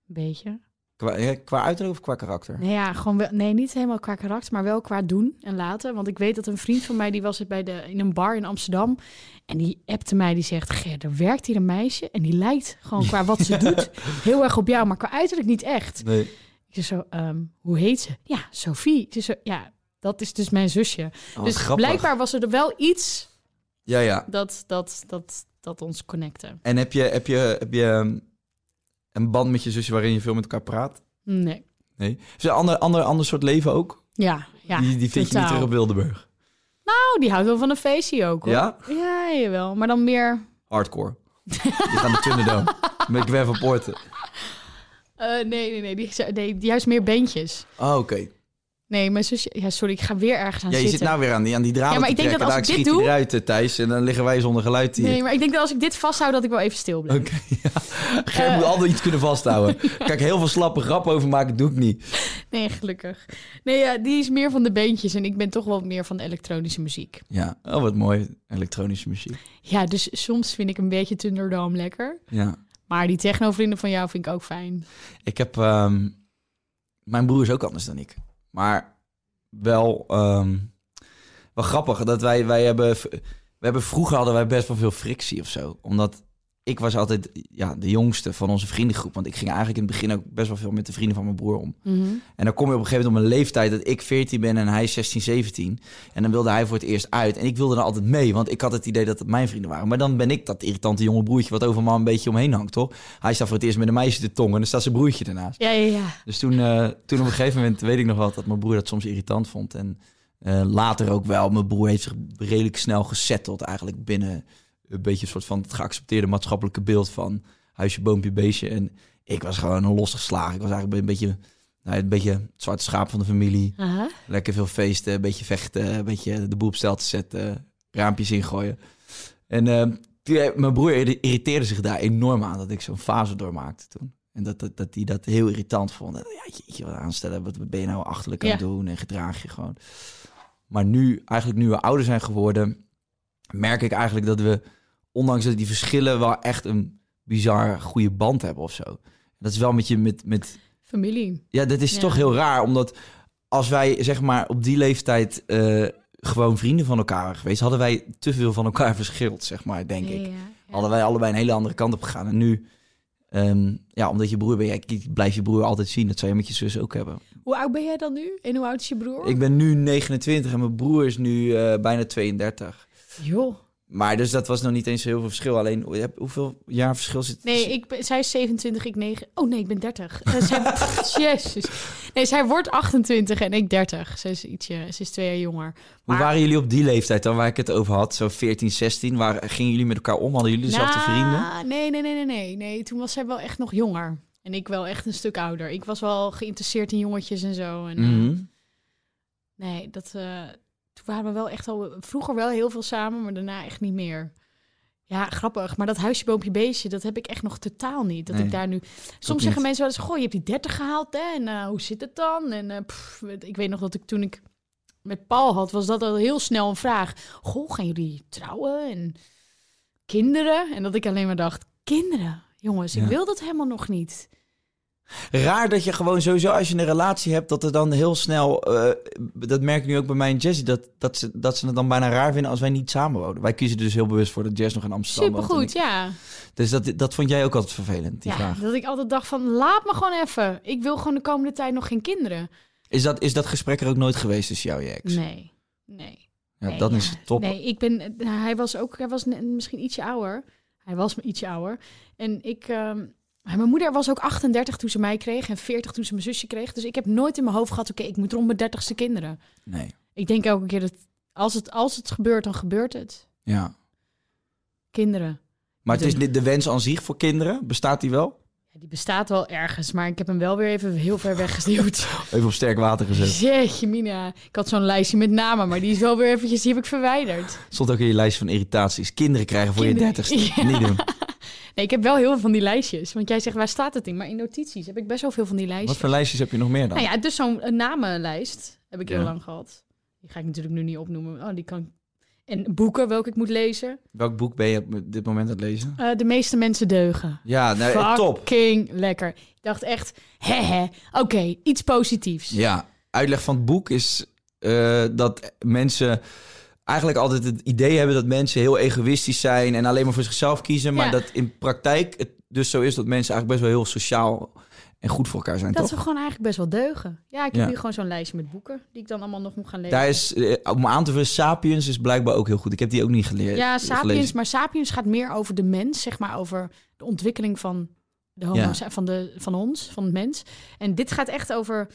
Een beetje.
Qua, ja, qua uiterlijk of qua karakter?
Nee, Nou ja, gewoon wel, nee, niet helemaal qua karakter, maar wel qua doen en laten. Want ik weet dat een vriend van mij, die was bij de, in een bar in Amsterdam. En die appte mij, die zegt, Ger, er werkt hier een meisje. En die lijkt gewoon qua wat ze doet heel erg op jou, maar qua uiterlijk niet echt.
Nee.
Ik zeg zo, ehm, hoe heet ze? Ja, Sophie. Ze zo, ja, dat is dus mijn zusje.
Oh, wat
dus
grappig.
blijkbaar was er wel iets
Ja, ja.
dat, dat, dat, dat ons connecte.
En heb je, heb, je, heb je ehm, een band met je zusje waarin je veel met elkaar praat?
Nee.
Nee. Is er een ander, ander, ander soort leven ook?
Ja, ja.
die die vind je niet
totaal.
terug op Wildeburg.
Nou, die houdt wel van een feestje ook hoor.
Ja?
Ja, jawel. Maar dan meer...
Hardcore. Je gaat naar Thunderdome. Met Gwen van Poorten.
eh, nee, nee, nee, die, zou- nee. Juist meer bandjes.
Oh, oké.
Nee, mijn zusje... Ja, sorry, ik ga weer ergens aan
Ja, je
zitten.
zit nou weer aan die, aan die draden
Ja, maar
te
ik denk dat
trekken.
als ik
Daar
dit
schiet hij
doe-
eruit, eh, Thijs. En dan liggen wij zonder geluid hier.
Nee, maar ik denk dat als ik dit vasthoud, dat ik wel even stil blijf.
nou- Oké, ja. Ger
Eh.
moet altijd iets kunnen vasthouden. Kijk, heel veel slappe grappen over maken doe ik niet.
Nee, gelukkig. Nee, ja, die is meer van de bandjes en ik ben toch wel meer van de elektronische muziek.
Ja, oh wat mooi. Elektronische muziek.
Ja, dus soms vind ik een beetje Thunderdome lekker.
Ja.
Maar die technovrienden van jou vind ik ook fijn.
Ik heb... ehm, mijn broer is ook anders dan ik. Maar wel... ehm, wel grappig dat wij... wij hebben, v- we hebben vroeger hadden wij best wel veel frictie of zo. Omdat ik was altijd ja, de jongste van onze vriendengroep. Want ik ging eigenlijk in het begin ook best wel veel met de vrienden van mijn broer om. En dan kom je op een gegeven moment op een leeftijd dat ik 14 ben en hij 16, 17. En dan wilde hij voor het eerst uit. En ik wilde er altijd mee, want ik had het idee dat het mijn vrienden waren. Maar dan ben ik dat irritante jonge broertje wat over me een beetje omheen hangt, toch? Hij staat voor het eerst met een meisje te tongen en dan staat zijn broertje ernaast.
Ja, ja, ja.
Dus toen, eh, toen op een gegeven moment weet ik nog wel dat mijn broer dat soms irritant vond. En eh, later ook wel. Mijn broer heeft zich redelijk snel gesetteld eigenlijk binnen een beetje een soort van het geaccepteerde maatschappelijke beeld van huisje, boompje, beestje. En ik was gewoon een losgeslagen. Ik was eigenlijk een beetje, nou, een beetje het zwarte schaap van de familie.
Aha.
Lekker veel feesten, een beetje vechten, een beetje de boel op stel te zetten, raampjes ingooien. En eh, toen- mijn broer irri- irriteerde zich daar enorm aan dat ik zo'n fase doormaakte toen. En dat hij dat, dat, die dat heel irritant vond. En, Ja, jeetje, wat aanstellen, wat ben je nou achterlijk aan het
Ja.
doen en gedraag je gewoon. Maar nu, eigenlijk nu we ouder zijn geworden, merk ik eigenlijk dat we, ondanks dat die verschillen, wel echt een bizar goede band hebben of zo. Dat is wel met je, met, met,
Familie.
ja, dat is
Ja.
toch heel raar, omdat als wij zeg maar op die leeftijd eh, gewoon vrienden van elkaar waren geweest, hadden wij te veel van elkaar verschild, zeg maar, denk ik.
Ja, ja, ja.
Hadden wij allebei een hele andere kant op gegaan. En nu, ehm, ja, omdat je broer bent, ja, blijf je broer altijd zien. Dat zou je met je zus ook hebben.
Hoe oud ben jij dan nu? En hoe oud is je broer?
Ik ben nu 29 en mijn broer is nu eh, bijna 32.
Joh,
Maar dus dat was nog niet eens heel veel verschil. Alleen hoe- heb- hoeveel jaar verschil zit
Nee, ik ben, zij is 27, ik 9. Oh nee, ik ben 30. Eh, zij, jezus. Nee, zij wordt 28 en ik 30. Ze is, ietsje, ze is twee jaar jonger.
Hoe
Maar-
waren jullie op die leeftijd dan waar ik het over had? Zo 14, 16. Waar gingen jullie met elkaar om? Hadden jullie dezelfde
Nou,
vrienden?
Nee, nee, nee, nee, nee, nee. Toen was zij wel echt nog jonger. En ik wel echt een stuk ouder. Ik was wel geïnteresseerd in jongetjes en zo. En, eh,
Mhm.
Nee, dat, eh, toen waren we wel echt al... Vroeger wel heel veel samen, maar daarna echt niet meer. Ja, grappig. Maar dat huisje, boompje, beestje, dat heb ik echt nog totaal niet. Dat
Nee,
ik daar nu... Soms
niet.
zeggen mensen wel eens, goh, je hebt die 30 gehaald, hè? En eh, hoe zit het dan? En eh, pff, ik weet nog dat ik toen ik met Paul had, was dat al heel snel een vraag. Goh, gaan jullie trouwen? En kinderen? En dat ik alleen maar dacht, kinderen? Jongens,
Ja.
ik wil dat helemaal nog niet.
Raar dat je gewoon sowieso als je een relatie hebt, dat er dan heel snel. eh, dat merk ik nu ook bij mij en Jessie, dat, dat, ze, dat ze het dan bijna raar vinden als wij niet samenwonen. Wij kiezen er dus heel bewust voor dat Jess nog in Amsterdam woont en
Supergoed, ja.
ik- Dus dat, dat vond jij ook altijd vervelend, die
ja,
vraag.
dat ik altijd dacht van, laat me gewoon even. Ik wil gewoon de komende tijd nog geen kinderen.
Is dat, is dat gesprek er ook nooit geweest tussen jou en je ex?
Nee, nee.
Ja,
nee,
dat
ja.
is top.
Nee, ik ben, eh, nou, hij was ook, hij was ne- misschien ietsje ouder. Hij was me ietsje ouder. En ik, ehm, mijn moeder was ook 38 toen ze mij kreeg en 40 toen ze mijn zusje kreeg. Dus ik heb nooit in mijn hoofd gehad, oké, ik moet rond mijn 30ste kinderen.
Nee.
Ik denk elke keer dat als het, als het gebeurt, dan gebeurt het.
Ja.
Kinderen.
Maar het is niet de wens aan zich voor kinderen, bestaat die wel?
Ja, die bestaat wel ergens, maar ik heb hem wel weer even heel ver weggestuurd.
Even op sterk water gezet.
Jeetje mina. Ik had zo'n lijstje met namen, maar die is wel weer eventjes, die heb ik verwijderd.
Stond ook in je lijst van irritaties. Kinderen krijgen voor
Kinderen-
je dertigste.
Ja.
Niet doen.
Nee, ik heb wel heel veel van die lijstjes. Want jij zegt, waar staat het in? Maar in notities heb ik best wel veel van die
Wat
lijstjes.
voor lijstjes heb je nog meer dan?
Nou ja, dus zo'n eh, namenlijst heb ik
Ja.
heel lang gehad. Die ga ik natuurlijk nu niet opnoemen. Oh, die kan... ik- En boeken welke ik moet lezen.
Welk boek ben je op dit moment aan het lezen?
Eh, de meeste mensen deugen.
Ja, nou, top.
Fucking lekker. Ik dacht echt, hè hè, oké, iets positiefs.
Ja, uitleg van het boek is eh, dat mensen eigenlijk altijd het idee hebben dat mensen heel egoïstisch zijn en alleen maar voor zichzelf kiezen. Maar
Ja.
dat in praktijk het dus zo is dat mensen eigenlijk best wel heel sociaal en goed voor elkaar zijn,
dat we
toch?
gewoon eigenlijk best wel deugen. Ja, ik heb
Ja.
nu gewoon zo'n lijstje met boeken die ik dan allemaal nog moet gaan lezen.
Daar is, eh, om aan te vullen, Sapiens is blijkbaar ook heel goed. Ik heb die ook niet geleerd.
Ja, Sapiens.
Eh, gelezen.
Maar Sapiens gaat meer over de mens, zeg maar over de ontwikkeling van de homo's, van, de, van ons, van het mens. En dit gaat echt over,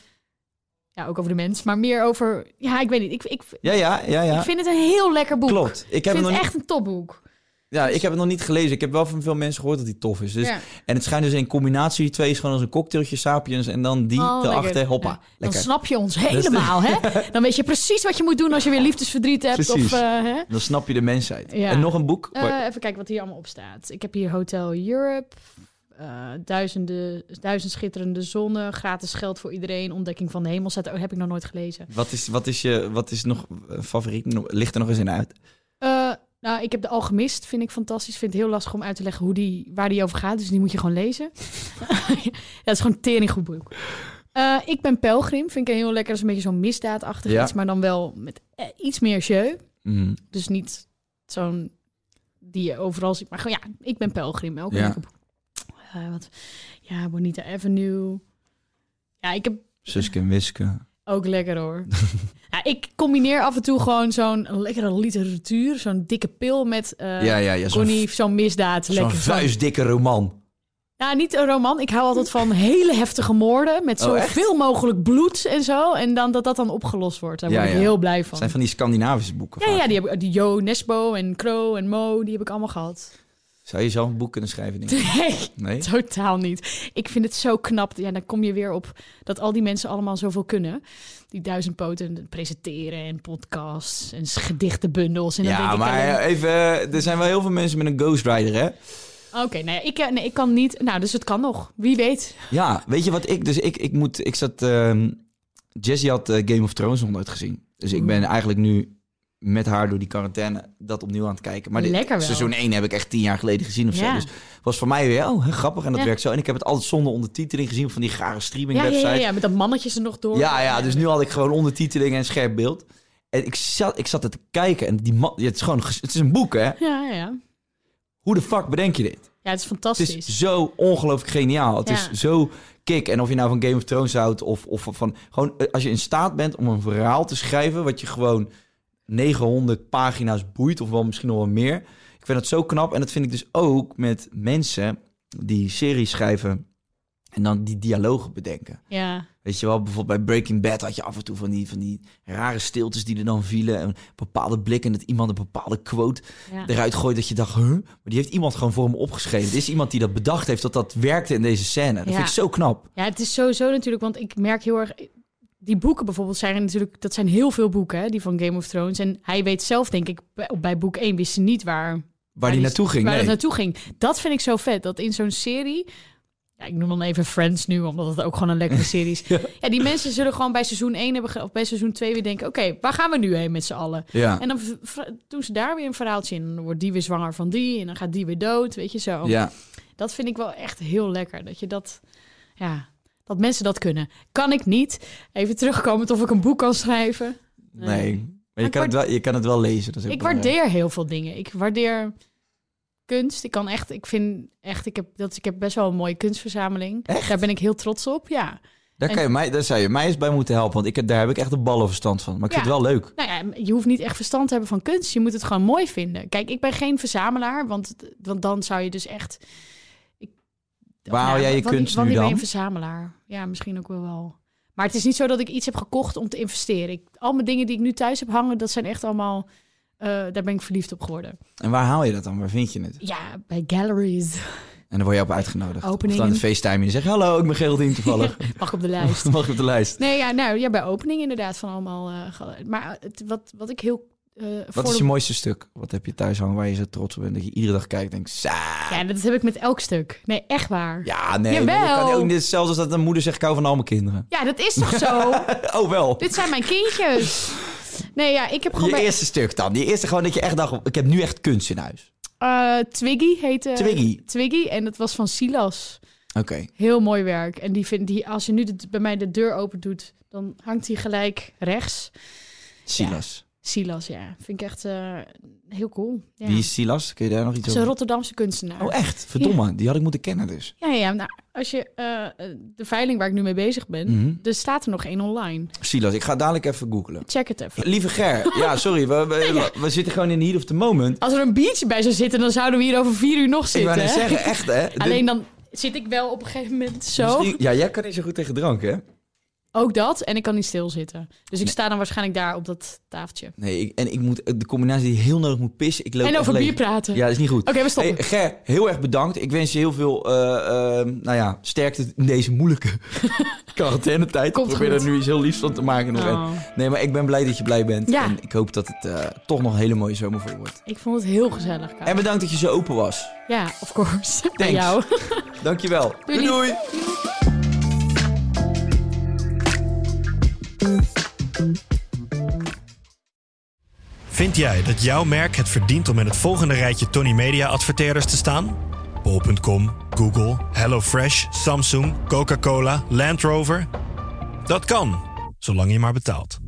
ja, ook over de mens, maar meer over, ja, ik weet niet. Ik, ik,
Ja, ja, ja, ja.
ik vind het een heel lekker boek.
Klopt. Ik
Ik,
heb,
vind
het
het
nog
echt een topboek.
niet, ja, ik heb het nog niet gelezen. Ik heb wel van veel mensen gehoord dat die tof is. Dus,
Ja.
En het schijnt dus in combinatie, die twee is gewoon als een cocktailtje Sapiens en dan die
Oh, lekker.
erachter. Hoppa,
Ja. Dan
lekker. Dus-
snap je ons helemaal, hè? Dan weet je precies wat je moet doen als je weer liefdesverdriet hebt.
Precies.
Of, eh, hè?
Dan snap je de mensheid.
Ja.
En nog een boek.
Eh, even kijken wat hier allemaal op staat. Ik heb hier Hotel Europe, eh, duizenden, duizend schitterende zonnen, gratis geld voor iedereen, ontdekking van de hemel. Staat, oh, heb ik nog nooit gelezen.
Wat is, wat is je wat is nog eh, favoriet? No- Ligt er nog eens in uit?
Eh, nou, ik heb De Alchemist, vind ik fantastisch. Vind het heel lastig om uit te leggen hoe die, waar die over gaat, dus die moet je gewoon lezen. ja, dat is gewoon een tering goed boek. Eh, ik ben Pelgrim, vind ik heel lekker. Dat is een beetje zo'n misdaadachtig
Ja.
iets, maar dan wel met eh, iets meer jeu.
Mhm.
Dus niet zo'n die je overal ziet. Maar gewoon, ja, ik ben pelgrim. Elke
Ja.
week op, eh, wat, ja, Bonita Avenue. Ja, ik heb
Suske en Wiske.
ook lekker hoor. ja, ik combineer af en toe gewoon zo'n lekkere literatuur. Zo'n dikke pil met eh
ja, ja, ja. Zo'n
Connie, zo'n misdaad.
zo'n
lekker zo'n-
vuistdikke roman.
nou, niet een roman. Ik hou altijd van hele heftige moorden. Met
Oh, echt?
zoveel mogelijk bloed en zo. En dan dat dat dan opgelost wordt. Daar
Ja,
word ik
ja.
heel blij
Het
van.
zijn van die Scandinavische boeken.
Ja,
vaak.
ja, die heb ik, die Jo Nesbo en Kro en Mo, die heb ik allemaal gehad.
Zou je zelf een boek kunnen schrijven? Denk ik?
Nee,
Nee?
Totaal niet. Ik vind het zo knap. Ja, dan kom je weer op dat al die mensen allemaal zoveel kunnen. Die duizend poten presenteren en podcasts en s- gedichtenbundels. En dan denk
Ja,
ik
maar
alleen-
eh, even, eh, er zijn wel heel veel mensen met een ghostwriter, hè?
Oké, nou ja, ik, eh, nee, ik kan niet. Nou, dus het kan nog. Wie weet.
Ja, weet je wat ik... Dus ik, ik moet... Ik zat... ehm Jessie had eh, Game of Thrones nog nooit gezien. Dus ik
Mm.
ben eigenlijk nu met haar door die quarantaine dat opnieuw aan het kijken. Maar dit,
Lekker wel.
seizoen 1 heb ik echt tien jaar geleden gezien of
Ja.
zo. Dus was voor mij weer, oh, hè, grappig. En dat
Ja.
werkt zo. En ik heb het altijd zonder ondertiteling gezien van die rare streaming
Ja, ja,
website.
ja, ja, met dat mannetje er nog door.
Ja, ja, dus nu had ik gewoon ondertiteling en scherp beeld. En ik zat, ik zat er te kijken en die man... ja, Het is gewoon... ges- Het is een boek, hè?
Ja, ja, ja.
Hoe de fuck bedenk je dit?
Ja, het is
Het
fantastisch.
is zo ongelooflijk geniaal. Het
Ja.
is zo kick. En of je nou van Game of Thrones houdt of, of van... Gewoon eh, als je in staat bent om een verhaal te schrijven... wat je gewoon 900 pagina's boeit, of wel misschien nog wel meer. Ik vind dat zo knap. En dat vind ik dus ook met mensen die series schrijven en dan die dialogen bedenken.
Ja.
Weet je wel, bijvoorbeeld bij Breaking Bad had je af en toe van die, van die rare stiltes die er dan vielen. En een bepaalde blik en dat iemand een bepaalde quote
ja.
eruit gooit dat je dacht, huh? Maar die heeft iemand gewoon voor hem opgeschreven. Er is iemand die dat bedacht heeft, dat dat werkte in deze scène. Dat
Ja.
vind ik zo knap.
Ja, het is sowieso natuurlijk, want ik merk heel erg. Die boeken bijvoorbeeld zijn natuurlijk, dat zijn heel veel boeken, hè, die van Game of Thrones. En hij weet zelf, denk ik, bij- bij boek 1 wist hij niet waar, waar
Waar die naartoe ging.
Waar
nee.
dat naartoe ging. Dat vind ik zo vet, dat in zo'n serie. Ja, ik noem dan even Friends nu, omdat het ook gewoon een lekkere serie is. ja. die mensen zullen gewoon bij seizoen 1 hebben, ge- of bij seizoen 2 weer denken: oké, waar gaan we nu heen met z'n allen?
Ja.
En dan v- v- doen ze daar weer een verhaaltje in. Dan wordt die weer zwanger van die, en dan gaat die weer dood, weet je zo.
ja.
Dat vind ik wel echt heel lekker. Dat je dat, ja, dat mensen dat kunnen. Kan ik niet. Even terugkomen of ik een boek kan schrijven.
Nee. Maar je
ik
kan, het wel, je kan het wel lezen. Dat is ook
Ik
belangrijk.
waardeer heel veel dingen. Ik waardeer kunst. Ik kan echt, ik vind echt, ik heb, dat, ik heb best wel een mooie kunstverzameling. Daar ben ik heel trots op, ja.
Daar, kan je mij, daar zou je mij eens bij moeten helpen, want ik, heb- daar heb ik echt een ballenverstand van. Maar ik
Ja.
vind het wel leuk.
Nou ja, je hoeft niet echt verstand te hebben van kunst. Je moet het gewoon mooi vinden. Kijk, ik ben geen verzamelaar, want, want dan zou je dus echt... Ik,
Waar haal jij je
wanneer-
kunst nu
wanneer ben je
dan?
een verzamelaar? Ja, misschien ook wel wel. Maar het is niet zo dat ik iets heb gekocht om te investeren. Ik, al mijn dingen die ik nu thuis heb hangen, dat zijn echt allemaal... eh, daar ben ik verliefd op geworden.
En waar haal je dat dan? Waar vind je het?
Ja, bij galleries.
En dan word je op uitgenodigd.
Opening.
Of dan in de FaceTime en je zegt, hallo, ik ben Geraldine toevallig.
Mag op de lijst.
Mag ik op de lijst?
Nee, ja, nou, ja, bij opening inderdaad van allemaal. eh, gal- maar het, wat, wat ik heel. eh, voor
Wat is je mooiste stuk? Wat heb je thuis hangen waar je zo trots op bent? Dat je iedere dag kijkt en denkt, "Sa."
Ja, dat heb ik met elk stuk. Nee, echt waar. Ja,
Ja, nee.
Jawel.
maar dat kan ook niet. Zelfs als dat een moeder zegt, ik hou van al mijn kinderen.
dat is toch zo?
Oh, wel.
Dit zijn mijn kindjes. Nee, ja, ik heb gewoon
Je
bij
eerste stuk dan. Je eerste gewoon dat je echt dacht, ik heb nu echt kunst in huis.
eh, Twiggy heette.
Twiggy.
Twiggy en dat was van Silas.
Oké.
Heel mooi werk. En die vind die als je nu de, bij mij de deur open doet, dan hangt hij gelijk rechts.
Silas.
Silas, ja, vind ik echt eh, heel cool. Ja.
Wie is Silas? Kun je daar nog iets
Dat is een
over?
Rotterdamse kunstenaar.
Oh, echt? Verdomme. Die had ik moeten kennen dus.
Ja, ja nou, als je eh, eh, de veiling waar ik nu mee bezig ben,
Mhm.
er staat er nog één online.
Silas, ik ga dadelijk even googlen.
Check het even.
Lieve Ger, ja, sorry. We, we, we zitten gewoon in the heat of the moment.
Als er een biertje bij zou zitten, dan zouden we hier over vier uur nog
Ik
zitten.
wou net
hè?
zeggen, echt hè. Dit-
Alleen dan zit ik wel op een gegeven moment zo.
Misschien- Ja, jij kan niet zo goed tegen drank hè.
Ook dat, en ik kan niet stilzitten. Dus ik sta dan waarschijnlijk daar op dat tafeltje.
Nee, ik, en ik moet de combinatie die heel nodig moet pissen. Ik loop
En
echt
over
leeg.
bier praten.
Ja, dat is niet goed.
Oké, we stoppen.
Hey, Ger, heel erg bedankt. Ik wens je heel veel eh, eh, nou ja, sterkte in deze moeilijke quarantainetijd.
Komt
ik probeer
goed.
er nu iets heel liefs van te maken. Nog.
Oh.
En- Nee, maar ik ben blij dat je blij bent.
Ja.
En ik hoop dat het eh, toch nog een hele mooie zomer voor je wordt.
Ik vond het heel gezellig, Kaas.
En bedankt dat je zo open was.
Ja, of course. Bij
Thanks.
jou.
Dankjewel.
Doei.
doei.
Vind jij dat jouw merk het verdient om in het volgende rijtje Tony Media adverteerders te staan? Bol.com, Google, HelloFresh, Samsung, Coca-Cola, Land Rover? Dat kan, zolang je maar betaalt.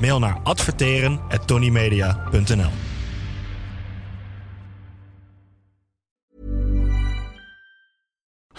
Mail naar adverteren at tonymedia.nl